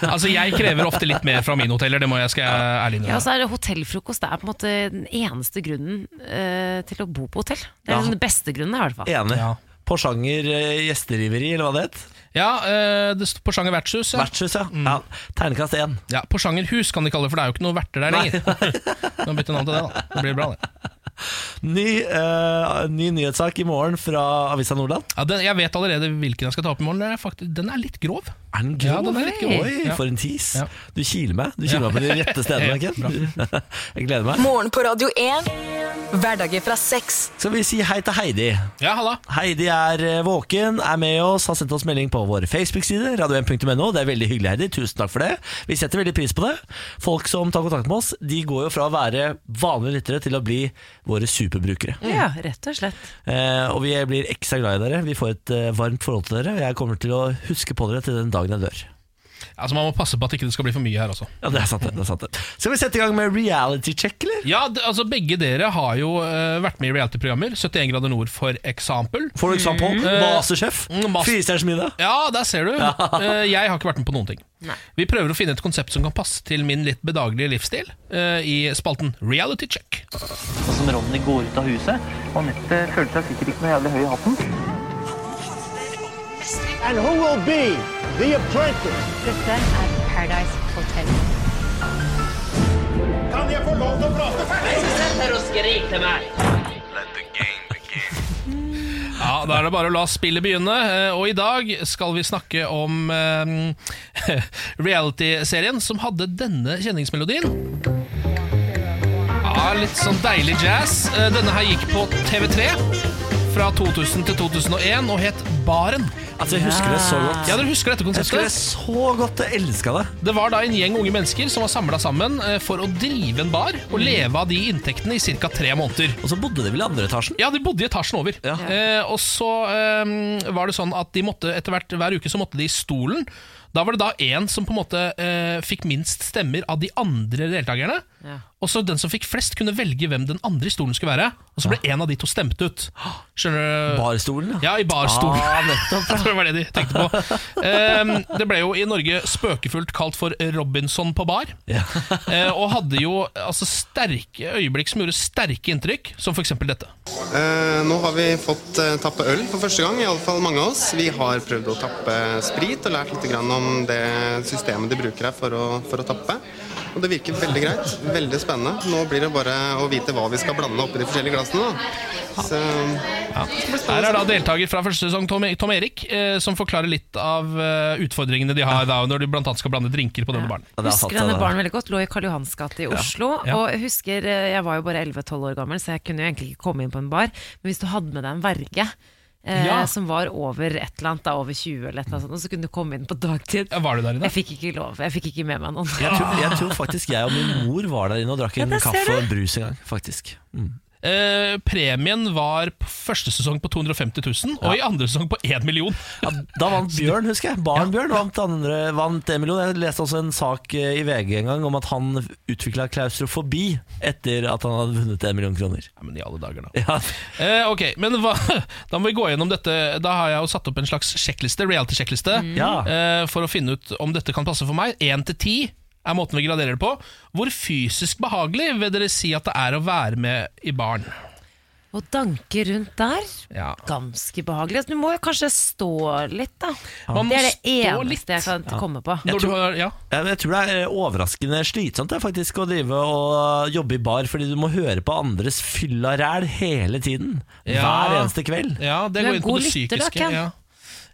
Altså, jeg krever ofte litt mer fra mine hoteller, det må jeg skal jeg ærlig
Ja,
innrømme.
og så er det hotellfrokost. Det er på en måte den eneste grunnen eh, til å bo på hotell. Det er
Ja.
liksom den beste grunnen, i hvert fall.
Enig.
Ja. Porsanger,
Porsanger gjesteriveri, eller hva det het.
Ja, øh, det står Porsanger vertshus. Ja.
Vertshus, ja.
Mm.
ja. Tegnekast 1.
Ja, Porsanger hus kan de kalle det, for det er jo ikke noen verter der lenger. Nå bytter jeg navn til det, da. Det blir bra, det.
Ny, eh, ny nyhetssak i morgen fra Avisa Nordland.
Ja, den, jeg vet allerede hvilken jeg skal ta opp i morgen. Den er, faktisk, den er litt grov.
Er den grov?
Ja, den er litt grov.
Oi,
Ja.
for en tis.
Ja.
Du kiler meg. Du kiler meg på de rette stedene. Ken. Jeg gleder meg.
Morgen på Radio 1. Hverdager fra seks.
Skal vi si hei til Heidi?
Ja, halla.
Heidi er eh, våken, er med oss, har sendt oss melding på vår Facebook-side, radio1.no. Det er veldig hyggelig, Heidi. Tusen takk for det. Vi setter veldig pris på det. Folk som tar kontakt med oss, de går jo fra å være vanlige lyttere til å bli våre superbrukere.
Ja, rett og slett.
Eh, og vi blir ekstra glad i dere. Vi får et eh, varmt forhold til dere. og Jeg kommer til å huske på dere til den dagen jeg dør.
Altså, Man må passe på at ikke det skal bli for mye her også.
Ja, det er sant, det. det er sant det. Skal vi sette i gang med reality check, eller?
Ja, det, altså Begge dere har jo eh, vært med i reality-programmer. 71 grader nord, for eksempel.
For eksempel Masterchef.
Mm, Mas-
Firestjerners middag.
Ja, der ser du. Eh, jeg har ikke vært med på noen ting. Vi prøver å finne et konsept som kan passe til min litt bedagelige livsstil, eh, i spalten Reality check.
som Ronny går ut av huset. Og Anette føler seg sikkert ikke noe jævlig høy i hatten.
And who will be the apprentice?
Dette er Paradise Hotel.
Kan jeg få lov til å prate ferdig?
Ja, Da er det bare å la spillet begynne. eh, Og i dag skal vi snakke om eh, reality-serien som hadde denne kjenningsmelodien. Ja, Litt sånn deilig jazz. Eh, Denne her gikk på TV3 fra 2000 til 2001 og het Baren.
Altså, jeg husker det så godt.
Ja, dere husker dette
Jeg husker
konseptet?
det så godt, jeg elska det.
Det var da en gjeng unge mennesker som var samla sammen eh, for å drive en bar og leve av de inntektene i ca. tre måneder.
Og så bodde de vel i andre etasjen?
Ja, de bodde i etasjen over. Eh, og så eh, var det sånn at de måtte etter hvert hver uke så måtte de i stolen. Da var det da én som på en måte eh, fikk minst stemmer av de andre deltakerne.
Ja.
Og så den som fikk flest, kunne velge hvem den andre i stolen skulle være. Og så ble en av de to stemt ut. Skjønner du?
Barstolen,
Ja, i barstolen.
Ah, nettopp,
Jeg tror det var det de tenkte på. Ehm, det ble jo i Norge spøkefullt kalt for Robinson på bar. Eh, og hadde jo altså, sterke øyeblikk som gjorde sterke inntrykk, som f.eks. dette.
Eh, nå har vi fått eh, tappe øl for første gang, iallfall mange av oss. Vi har prøvd å tappe sprit og lært litt grann om det systemet de bruker her for å, for å tappe. Og det virker veldig greit. Veldig spennende. Nå blir det bare å vite hva vi skal blande oppi de forskjellige glassene. Da. Så,
Her er da deltaker fra første sesong, Tom, Tom Erik, eh, som forklarer litt av eh, utfordringene de har da, når de blant annet skal blande drinker på denne baren.
husker denne baren veldig godt. Lå i Karl Johans gate i
eh, Ja.
Oslo.
Ja.
Og jeg husker, eh, jeg var jo bare 11-12 år gammel, så jeg kunne jo egentlig ikke komme inn på en bar. Men hvis du hadde med deg en verge eh,
Ja.
som var over et eller annet, da, over 20 eller et eller annet, sånt, og så kunne du komme inn på dagtid.
var du der
Jeg fikk ikke lov. Jeg fikk ikke med meg noen.
Jeg tror, jeg tror faktisk jeg og min mor var der inne og drakk en
der ser
kaffe og
du.
en brus en gang. faktisk mm.
Eh, premien var på første sesong på 250 000, og i andre sesong på 1 million.
Da vant Bjørn, husker jeg. Barn Bjørn vant, andre, vant en million. Jeg leste også en sak eh, i VG en gang om at han utvikla klaustrofobi etter at han hadde vunnet en million kroner.
Ja, men i alle dager da
Ja,
Eh, ok, men hva, da må vi gå gjennom dette Da har jeg jo satt opp en slags sjekkliste, reality-sjekkliste
Mm. Ja.
eh, For å finne ut om dette kan passe for meg 1 til 10 er måten vi graderer det på Hvor fysisk behagelig vil dere si at det er å være med i barn?
Å danke rundt der,
Ja.
ganske behagelig. Altså, Du må jo kanskje stå litt, da.
Man må
Det er det
stå
eneste
litt.
jeg kan
Ja.
komme på.
Jeg tror,
ja.
jeg tror det er eh, overraskende slitsomt det, er faktisk å drive og eh, jobbe i bar, fordi du må høre på andres fylla ræl hele tiden. Hver eneste kveld.
Ja,
Du
det
er
går inn på
god
det
lytter, da,
psykiske
Ken.
ja.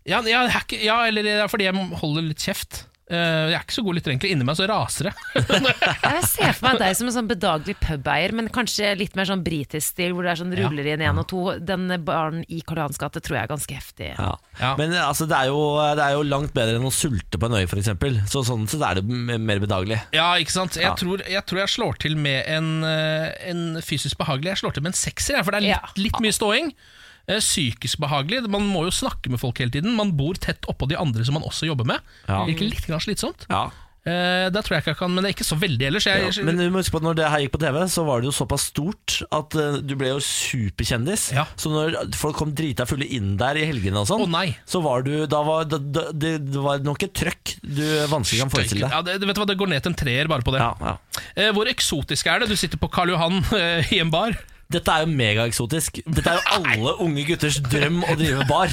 Ja, ja, jeg er ikke- ja, eller det er fordi jeg holder litt kjeft Eh, Jeg er ikke så god lytter egentlig Inni meg så raser det
Jeg ser for meg deg som en sånn bedagelig pubeier, men kanskje litt mer sånn britisk stil, hvor det er sånn
Ja.
ruller inn én og to. Den baren i Karl Johans gate tror jeg er ganske heftig.
Ja. Men altså, det, er jo, det er jo langt bedre enn å sulte på en øy, f.eks. Så sånn sett er det m- mer bedagelig.
Ja, ikke sant? Jeg,
Ja.
Tror, jeg tror jeg slår til med en, eh, en fysisk behagelig. Jeg slår til med en sekser, jeg, for det er litt, litt mye ståing. Eh, Psykisk behagelig. Man må jo snakke med folk hele tiden. Man bor tett oppå de andre som man også jobber med.
Ja.
Virker litt grann slitsomt.
Ja.
Eh, da tror jeg ikke jeg kan, men det er ikke så veldig ellers. Jeg,
Ja, men du må huske på at når det her gikk på TV, så var det jo såpass stort at eh, du ble jo superkjendis. Så når folk kom drita fulle inn der i helgene og sånn, så var du Da var da, da, det, det var nok et trøkk du vanskelig kan forestille deg.
ja, det, vet du hva, det går ned til en treer bare på det. Eh, hvor eksotisk er det? Du sitter på Karl Johan eh, i en bar.
Dette er jo megaeksotisk. Dette er jo alle unge gutters drøm å drive bar.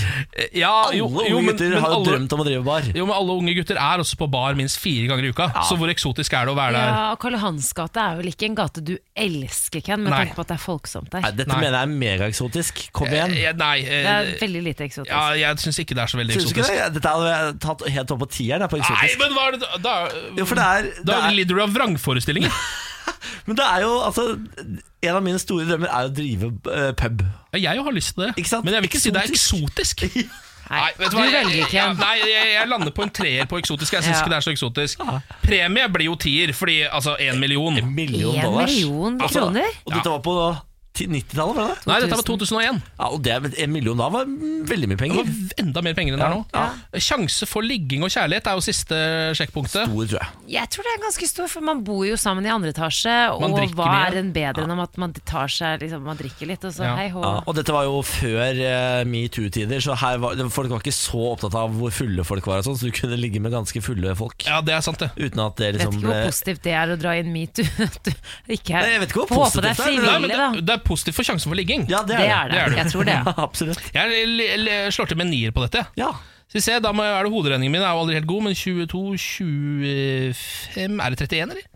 Ja,
alle
jo-
unge
jo, men-
gutter
men
har Eh, jo
alle-
drømt om å drive bar.
Jo, men Alle unge gutter er også på bar minst fire ganger i uka, så hvor eksotisk er det å være der?
Ja, og Karl Johans gate er vel ikke en gate du elsker, Ken, med
Nei.
tanke på at det er folksomt der.
Nei, dette mener jeg er megaeksotisk. Kom igjen.
Eh, nei, eh,
Det er veldig lite eksotisk.
Ja, jeg syns ikke det er så veldig
Syns du ikke
eksotisk.
det? Dette hadde jeg tatt helt opp på tieren. jeg, På
Nei,
eksotisk.
men hva er det da- Da,
Jo, for det er, det
da
er-
lider du av vrangforestillinger.
Men det er jo altså En av mine store drømmer er å drive eh, pub.
Jeg har lyst til det,
men
jeg vil ikke si det er eksotisk. Nei, vet
du
jeg-
velger ikke.
jeg- Nei, jeg, jeg lander på en treer på eksotisk. Jeg syns
Ja.
ikke det er så eksotisk. Premie blir jo tier, fordi altså én million. En
million En dollars. million kroner? Og dette var på 90-tallet, var det det?
Nei, dette var 2001.
Ja, og det, er- En million da var veldig mye penger.
Det var enda mer penger enn det er nå. Sjanse for ligging og kjærlighet er jo siste sjekkpunktet.
Stor, tror jeg.
Jeg tror det er ganske stor, for man bor jo sammen i andre etasje,
Man
og
drikker
hva
mye.
er en bedre enn om at man tar seg liksom, Man drikker litt, og så hei hå.
Ja, og dette var jo før eh, metoo-tider, så her var, folk var ikke så opptatt av hvor fulle folk var, og sånn, så du kunne ligge med ganske fulle folk.
Ja, det er sant det
Uten at det
Vet
liksom
ikke
ble
hvor positivt det er å dra inn metoo. Du- Ikke
Nei, jeg vet ikke hvor
Få på
positivt
deg
det er, men-
frivillig,
Nei,
da.
men
Det er positivt for sjansen for ligging.
Ja,
det er Det er det. det. Jeg tror det.
Absolutt.
Jeg l- l- slår til med en nier på dette.
Ja.
Skal vi se, da må, jeg- er det Hoderegningen min er jo aldri helt god, men 22, 25 Er det 31, eller?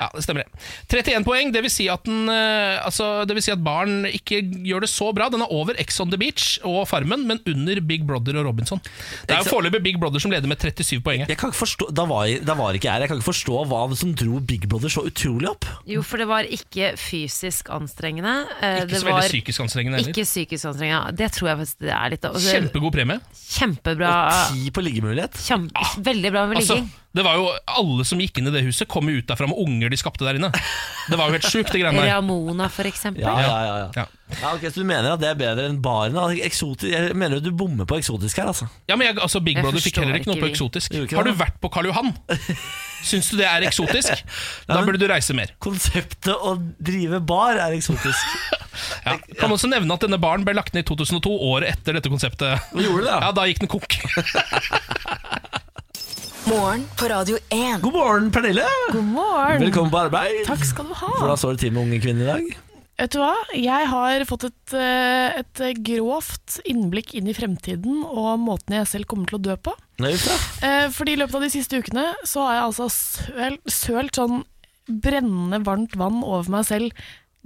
Ja, det stemmer det. 31 poeng, det vil, si at den, eh, altså, det vil si at Barn ikke gjør det så bra. Den er over Ex on the Beach og Farmen, men under Big Brother og Robinson. Det er jo foreløpig Big Brother som leder med 37 poeng.
Jeg kan ikke forstå, da var, jeg, da var ikke jeg her. Jeg kan ikke forstå hva som dro Big Brother så utrolig opp.
Jo, for det var ikke fysisk anstrengende. eh,
Ikke
det
så veldig
var
psykisk anstrengende heller.
Ikke psykisk anstrengende. Det tror jeg faktisk det er litt av. Altså,
Kjempegod premie.
Kjempebra.
Ti på liggemulighet.
Kjem- Veldig bra med
Altså,
ligging.
det var jo Alle som gikk inn i det huset, kom jo ut derfra med unger de skapte der inne. Det var jo helt sjukt, det greiene der.
Ramona, for eksempel.
Ja, ja, ja, ja. Ja, ok, Så du mener at det er bedre enn baren? da? Eksoti- Jeg mener at du bommer på eksotisk her, altså.
Ja, men jeg, altså, Big
Jeg
Brother fikk
forstår
heller ikke noe
ikke
på
de.
eksotisk.
Gjorde ikke
Har du
det?
vært på Karl Johan? Syns du det er eksotisk? Da burde du reise mer.
Konseptet å drive bar er eksotisk.
Ja. Kan også nevne at denne baren ble lagt ned i 2002, året etter dette konseptet.
Gjorde det, ja.
Ja, Da gikk den konk.
Morgen på Radio 1.
God morgen, Pernille.
God morgen.
Velkommen på arbeid.
Takk skal du ha.
Hvordan står det til med unge kvinner i dag?
Vet du hva? Jeg har fått et, eh, et grovt innblikk inn i fremtiden og måten jeg selv kommer til å dø på.
Nei, uff da.
Eh, Fordi i løpet av de siste ukene så har jeg altså sølt, sølt sånn brennende varmt vann over meg selv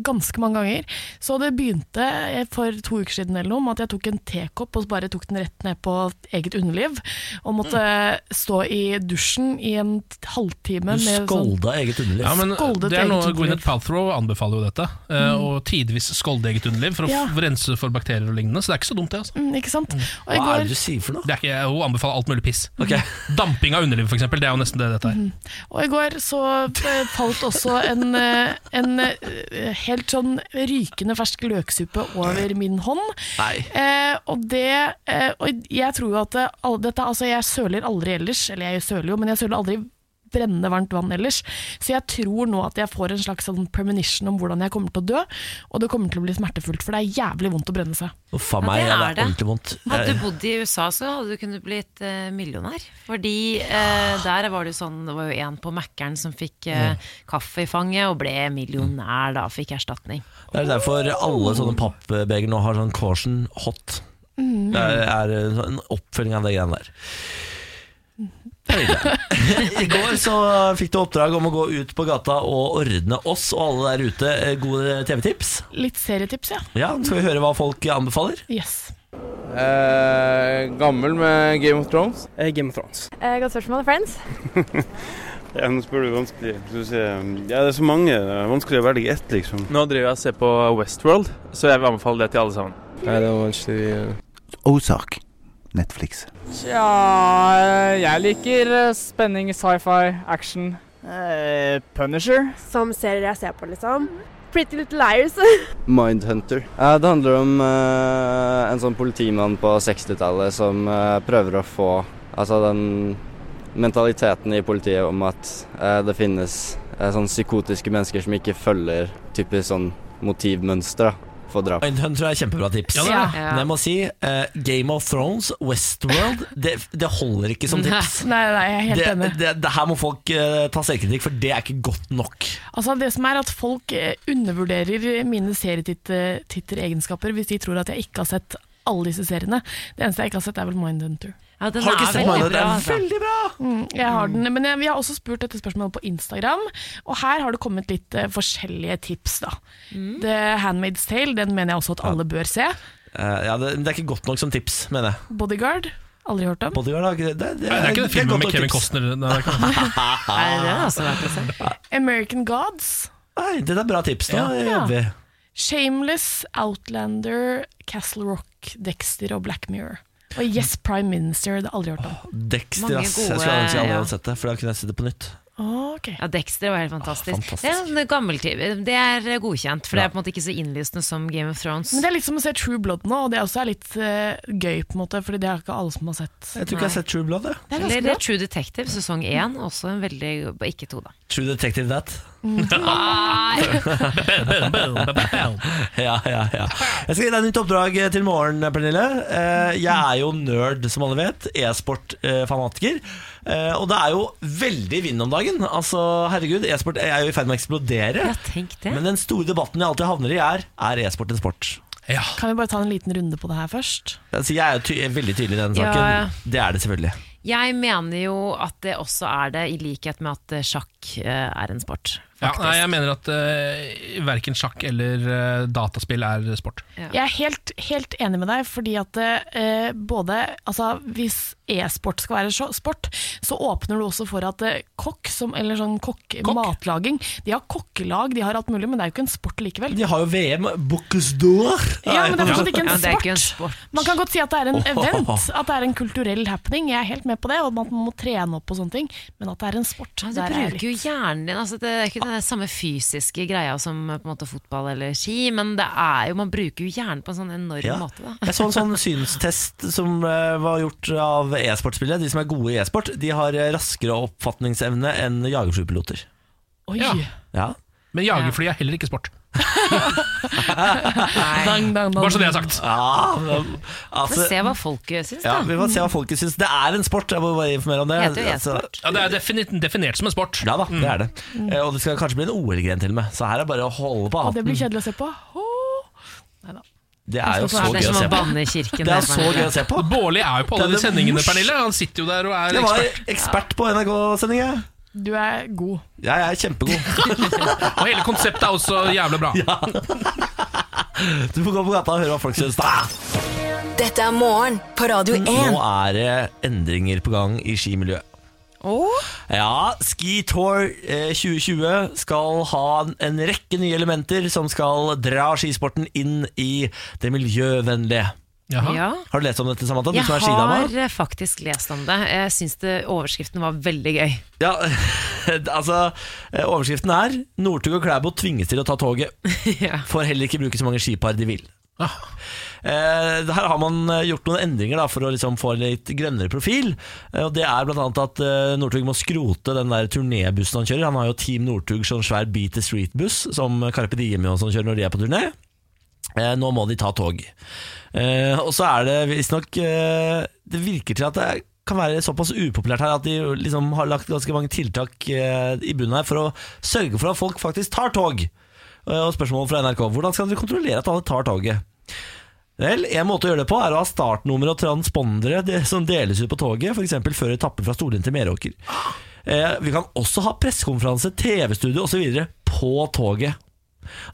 ganske mange ganger. Så det begynte eh, for to uker siden eller noe med at jeg tok en tekopp og bare tok den rett ned på eget underliv. Og måtte eh, stå i dusjen i en t- halvtime med sånn
eget underliv.
Ja, men
Skoldet
det er
eget
noe
underliv.
Gwyneth Palthrow anbefaler jo dette. eh,
Mm.
Og tidvis skolde eget underliv for å
Ja.
f- rense for bakterier og lignende. Så det er ikke så dumt, det. altså
Mm, Ikke sant? Og i går-
sier for noe?
Det er ikke, hun anbefaler alt mulig piss. Damping av underlivet, for eksempel. Det er jo nesten det dette er.
Mm.
Mhm. Og i går så eh, falt også en, eh, en eh, helt sånn rykende fersk løksuppe over min hånd.
Nei.
Eh, og det eh, Og jeg tror jo at det, all, dette Altså, jeg søler aldri ellers. Eller jeg søler jo, men jeg søler aldri brennende varmt vann ellers. Så jeg tror nå at jeg får en slags sånn premonition om hvordan jeg kommer til å dø. Og det kommer til å bli smertefullt, for det er jævlig vondt å brenne seg.
Uff a meg, ja, det er ordentlig vondt.
Hadde
Jeg-
du bodd i USA, så hadde du kunnet blitt eh, millionær. Fordi eh, der var det jo sånn Det var jo en på Mækkern som fikk eh,
Mm.
kaffe i fanget og ble millionær da, fikk erstatning.
Det er derfor alle sånne pappbeger nå har sånn caution hot.
Mm.
Det er, er en sånn oppfølging av det greiene der. Høyde. I går så fikk du oppdrag om å gå ut på gata og ordne oss og alle der ute eh, gode TV-tips.
Litt serietips, ja.
Ja, Skal vi høre hva folk anbefaler?
Yes.
gammel med Game of Thrones. Game of Thrones.
Eh, godt spørsmål, Friends.
Ja, nå spør du vanskelig. Skal vi se. Ja, det er så mange. Det er vanskelig å velge ett, liksom.
Nå driver jeg og ser på Westworld, så jeg vil anbefale det til alle sammen. Nei, det var
Ozark. Netflix.
Tja, Ah, jeg liker eh, spenning, sci-fi, action. Eh, Punisher.
Som serier jeg ser på, liksom. Pretty Little Liars.
Mindhunter. det handler om eh, en sånn politimann på 60-tallet som eh, prøver å få altså den mentaliteten i politiet om at eh, det finnes eh, sånn psykotiske mennesker som ikke følger typisk sånn motivmønster da, for drap.
Mindhunter er kjempebra tips.
Ja, det er det. Ja.
Men jeg må si eh, Game of Thrones, Westworld, det, det holder ikke som
Mm.
tips.
Nei, nei, jeg er helt
Det,
enig.
det, det her må folk eh, ta selvkritikk, for det er ikke godt nok.
Altså Det som er at folk eh, undervurderer mine serietitteregenskaper hvis de tror at jeg ikke har sett alle disse seriene. Det eneste jeg ikke har sett, er vel Mindhunter.
Ja, den
Har du ikke er sett veldig Mindhunter? bra, Den er altså. veldig
bra! Mm, jeg har den, men jeg, vi har også spurt dette spørsmålet på Instagram, og her har det kommet litt eh, forskjellige tips. da. The Handmaid's Tale den mener jeg også at alle bør se.
Eh, ja, det, det er ikke godt nok som tips, mener jeg.
Bodyguard aldri hørt om.
Bodyguard har ikke det. Det,
Nei, det er ikke den
godt
filmen
nok
med Kevin
tips.
Costner. Nei, det er ikke det.
Nei,
det er også verdt å American Gods.
Nei, det er bra tips. Nå
Ja.
jobber vi.
Shameless, Outlander, Castle Rock, Dexter og Black Mirror. Og Yes Prime Minister, det har jeg aldri hørt om.
Dexter, ass. Jeg skulle ønske jeg aldri hadde sett det, for da kunne jeg sett det på nytt.
Ah,
Ja, Dexter var helt fantastisk.
Ah, fantastisk.
Det er en gammel TV. Det er eh, godkjent, for det er på en måte ikke så innlysende som Game of Thrones.
Men Det er litt som å se True Blood nå, og det også er litt eh, gøy, på en måte, Fordi det er ikke alle som har sett.
Jeg tror ikke jeg har sett True Blood. Jeg.
Det er
Eller
ganske
det
bra.
er True Detective sesong 1, også en veldig Ikke to, da.
True Detective That. ja, ja, ja. Jeg skal gi deg et nytt oppdrag eh, til morgen, Pernille. Eh, Jeg er jo nerd, som alle vet. E-sport-fanatiker. Eh, Og det er jo veldig vind om dagen. Altså, herregud, e-sport er jo i ferd med å eksplodere. Men den store debatten jeg alltid havner i, er er e-sport en sport?
Kan vi bare ta en liten runde på det her først?
Altså, jeg er jo ty veldig tydelig i den
Ja,
saken.
ja.
Det er det selvfølgelig.
Jeg mener jo at det også er det, i likhet med at eh, sjakk eh, er en sport. For
Ja, nei, jeg mener at uh, verken sjakk eller eh, dataspill er sport.
Jeg er helt, helt enig med deg, fordi at eh, både altså, Hvis e-sport skal være så- sport, så åpner du også for at eh, kokk, som, eller sånn kokk, matlaging De har kokkelag, de har alt mulig, men det er jo ikke en sport likevel.
De har jo VM Bocuse d'Or.
Ja, men det er fortsatt ikke en
Ja, det er
sport.
ikke en sport.
Man kan godt si at det er en
Åh.
event, at det er en kulturell happening. Jeg er helt med på det, og at man må trene opp og sånne ting, men at det er en sport
Ja,
der
du
er jeg
bruker jo hjernen din. Altså, det er ikke den der samme fysiske greia som eh, på en måte fotball eller ski, men det er jo, man bruker jo hjernen på en sånn enorm
Ja.
måte. Da.
Jeg så en sånn synstest som eh, var gjort av e-sportspillere. De som er gode i e-sport, de har eh, raskere oppfatningsevne enn jagerflypiloter.
Oi.
Ja.
Men jagerfly er heller ikke sport. Bare så det er sagt.
Ja, Ah, men, altså,
Vi får se hva folket syns, da.
ja, vi får se hva folket syns. Det er en sport, jeg må bare informere om det.
Heter jo
Altså,
Ja, det er definert, definert som en sport.
Ja da, det er det.
Mm.
Eh, Og det skal kanskje bli en OL-gren til og med, så her er det bare å holde på
Og det blir
hatten.
kjedelig å se på. Åh.
Det er jo
Det
så
er
gøy å
som å
se på.
banne i kirken,
Det er
det er
så
bare-
gøy å se på.
Bårli er jo på
Det
alle de
er det
sendingene,
mors-
Pernille. Han sitter jo der og er
Jeg var
ekspert.
ekspert på NRK-sendinga.
Du er god.
Ja, jeg er kjempegod.
Og hele konseptet er også jævlig bra.
Du får gå på gata og høre hva folk syns. Da.
Dette er Morgen på Radio 1.
Nå er det endringer på gang i skimiljøet. Ja, Ski Tour eh, 2020 skal ha en- en rekke nye elementer som skal dra skisporten inn i det miljøvennlige.
Jaha. Ja.
Har du lest om dette, Samantha? Du
Jeg
som er skidama?
har eh, faktisk lest om det. Jeg syns det- overskriften var veldig gøy.
Ja, altså eh, Overskriften er 'Northug og Klæbo tvinges til å ta toget'. Får heller ikke bruke så mange skipar de vil. Eh, her har man eh, gjort noen endringer da, for å liksom få en litt grønnere profil. Eh, og Det er bl.a. at eh, Northug må skrote den der turnébussen han kjører. Han har jo Team Northug sånn svær Beat the Street-buss, som Carpe Diem og sånn kjører når de er på turné. Eh, nå må de ta tog. Eh, og så er det visstnok eh, Det virker til at det kan være såpass upopulært her at de liksom har lagt ganske mange tiltak eh, i bunnen her for å sørge for at folk faktisk tar tog. Eh, og spørsmålet fra NRK hvordan skal dere kontrollere at alle tar toget? Vel, En måte å gjøre det på er å ha startnummer og transpondere de- som deles ut på toget, f.eks. før etappen fra Storlien til Meråker. Eh, vi kan også ha pressekonferanse, TV-studio osv. på toget.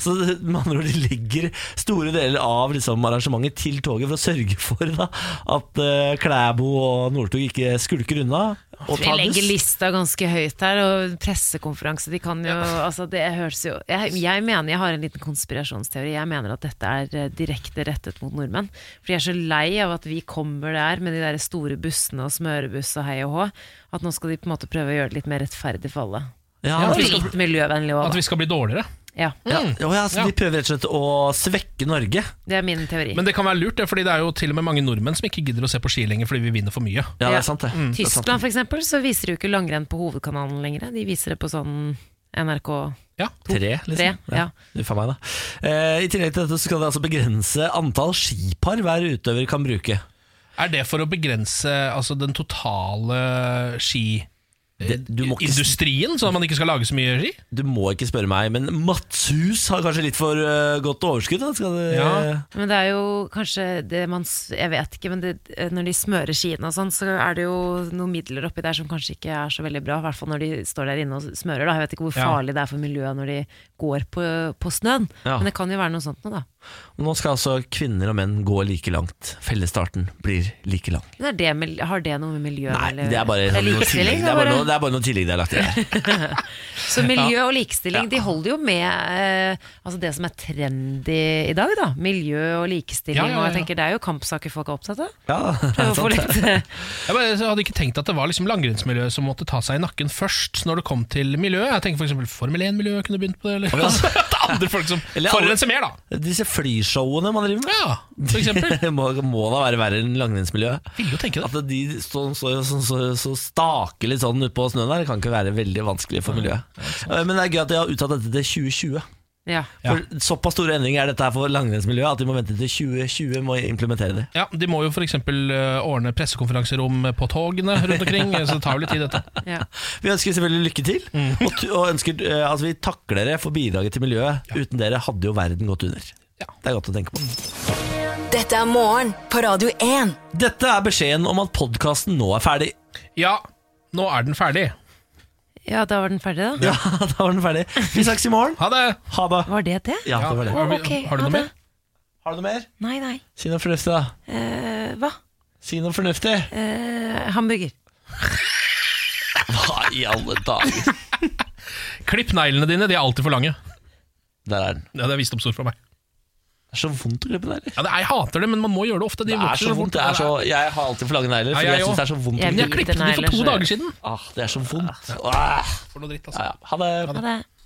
Så det- med andre ord, det ligger store deler av liksom, arrangementet til toget for å sørge for da, at eh, Klæbo og Northug ikke skulker unna. Og
Vi
tar
legger
buss.
lista ganske høyt her, og pressekonferanse De kan jo altså, Det høres jo jeg, jeg mener jeg har en liten konspirasjonsteori. Jeg mener at dette er eh, direkte rettet mot nordmenn. For jeg er så lei av at vi kommer der med de der store bussene og smørebuss og hei og hå. At nå skal de på en måte prøve å gjøre det litt mer rettferdig for alle.
Ja,
og
at vi skal-
litt miljøvennlig
At
òg,
vi
da.
skal bli dårligere.
Ja.
Ja, å ja, så De prøver rett og slett å svekke Norge.
Det er min teori.
Men det kan være lurt, det, fordi det er jo til og med mange nordmenn som ikke gidder å se på ski lenger fordi vi vinner for mye.
Ja, det er sant det.
Mm.
Det er sant.
Tyskland for eksempel, så viser de jo ikke langrenn på hovedkanalen lenger. De viser det på sånn NRK
ja,
Tre, liksom.
Tre, ja.
Uff a meg, da. Eh, I tillegg til dette så skal det altså begrense antall skipar hver utøver kan bruke.
Er det for å begrense altså, den totale ski...
Det- du må ikke-
Industrien, sånn at man ikke skal lage så mye ski?
Du må ikke spørre meg, men Matshus har kanskje litt for eh, godt overskudd? Da. Skal det,
Ja.
Men det er jo kanskje det man s- Jeg vet ikke, men det, når de smører skiene og sånn, så er det jo noen midler oppi der som kanskje ikke er så veldig bra. I hvert fall når de står der inne og smører. Da. Jeg vet ikke hvor
Ja.
farlig det er for miljøet når de går på, på snøen,
Ja.
men det kan jo være noe sånt noe, da.
Nå skal altså kvinner og menn gå like langt. Fellesstarten blir like lang.
Men er det, mil- har det noe med miljø
Nei,
eller
det er bare,
det
noe
er
tillegg.
likestilling?
Det er bare,
det
noe, det er bare noe tillegg det er lagt til her.
Så miljø og likestilling, de holder jo med eh, altså det som er trendy i dag, da. Miljø og likestilling,
Ja, ja,
og
ja, ja.
jeg tenker det er jo kampsaker folk er opptatt av.
Ja,
Prøve å få litt eh,
Jeg bare jeg hadde ikke tenkt at det var liksom langrennsmiljøet som måtte ta seg i nakken først når det kom til miljøet. Jeg tenker for eksempel Formel 1-miljøet kunne begynt på det. Eller, altså, det er andre folk som
Eller alle-
forurenser mer, da.
Disse flyshowene man driver med.
Ja, for eksempel.
Det må, må da være verre enn langrennsmiljøet.
Vil jo tenke det.
At de står så, så, så, så staker litt sånn ute på snøen der, det kan ikke være veldig vanskelig for miljøet. Eh, Men det er gøy at de har uttatt dette til 2020.
Ja.
For Såpass store endringer er dette her for langrennsmiljøet at de må vente til 2020 med å implementere det.
Ja, De må jo f.eks. ordne pressekonferanserom på togene rundt omkring, eh, så det tar jo litt tid, dette.
Ja.
Vi ønsker selvfølgelig lykke til, og, t- og ønsker, eh, altså vi takker dere for bidraget til miljøet. Uten dere hadde jo verden gått under. Det er godt å tenke på.
Dette er Morgen på Radio 1.
Dette er beskjeden om at podkasten nå er ferdig.
Ja, nå er den ferdig.
Ja, da var den ferdig, da.
Ja, da var den ferdig. Vi snakkes i morgen.
Ha det!
Var det det?
Ja, det var det.
Å, ok,
Har du noe
ha det.
mer? Har du noe mer?
Nei, nei.
Si noe fornuftig, da.
Eh, hva?
Si noe fornuftig.
Eh, hamburger.
Hva i alle dager?
Klipp neglene dine, de er alltid for lange.
Der er den.
Ja, det er visdomsord fra meg.
Det er så vondt å klippe negler.
Ja, det, jeg hater det, men man må gjøre det ofte. De
Det er
vokser
så vondt. Det er så, jeg har alltid for lange negler, for
Ja, jeg
jeg syns det er så
også.
vondt. å
Jeg
klippe.
klippet de for to dager siden.
Ah, det er så vondt. Ah.
For noe dritt, altså.
Ja, ja. Ha det.
Ha det.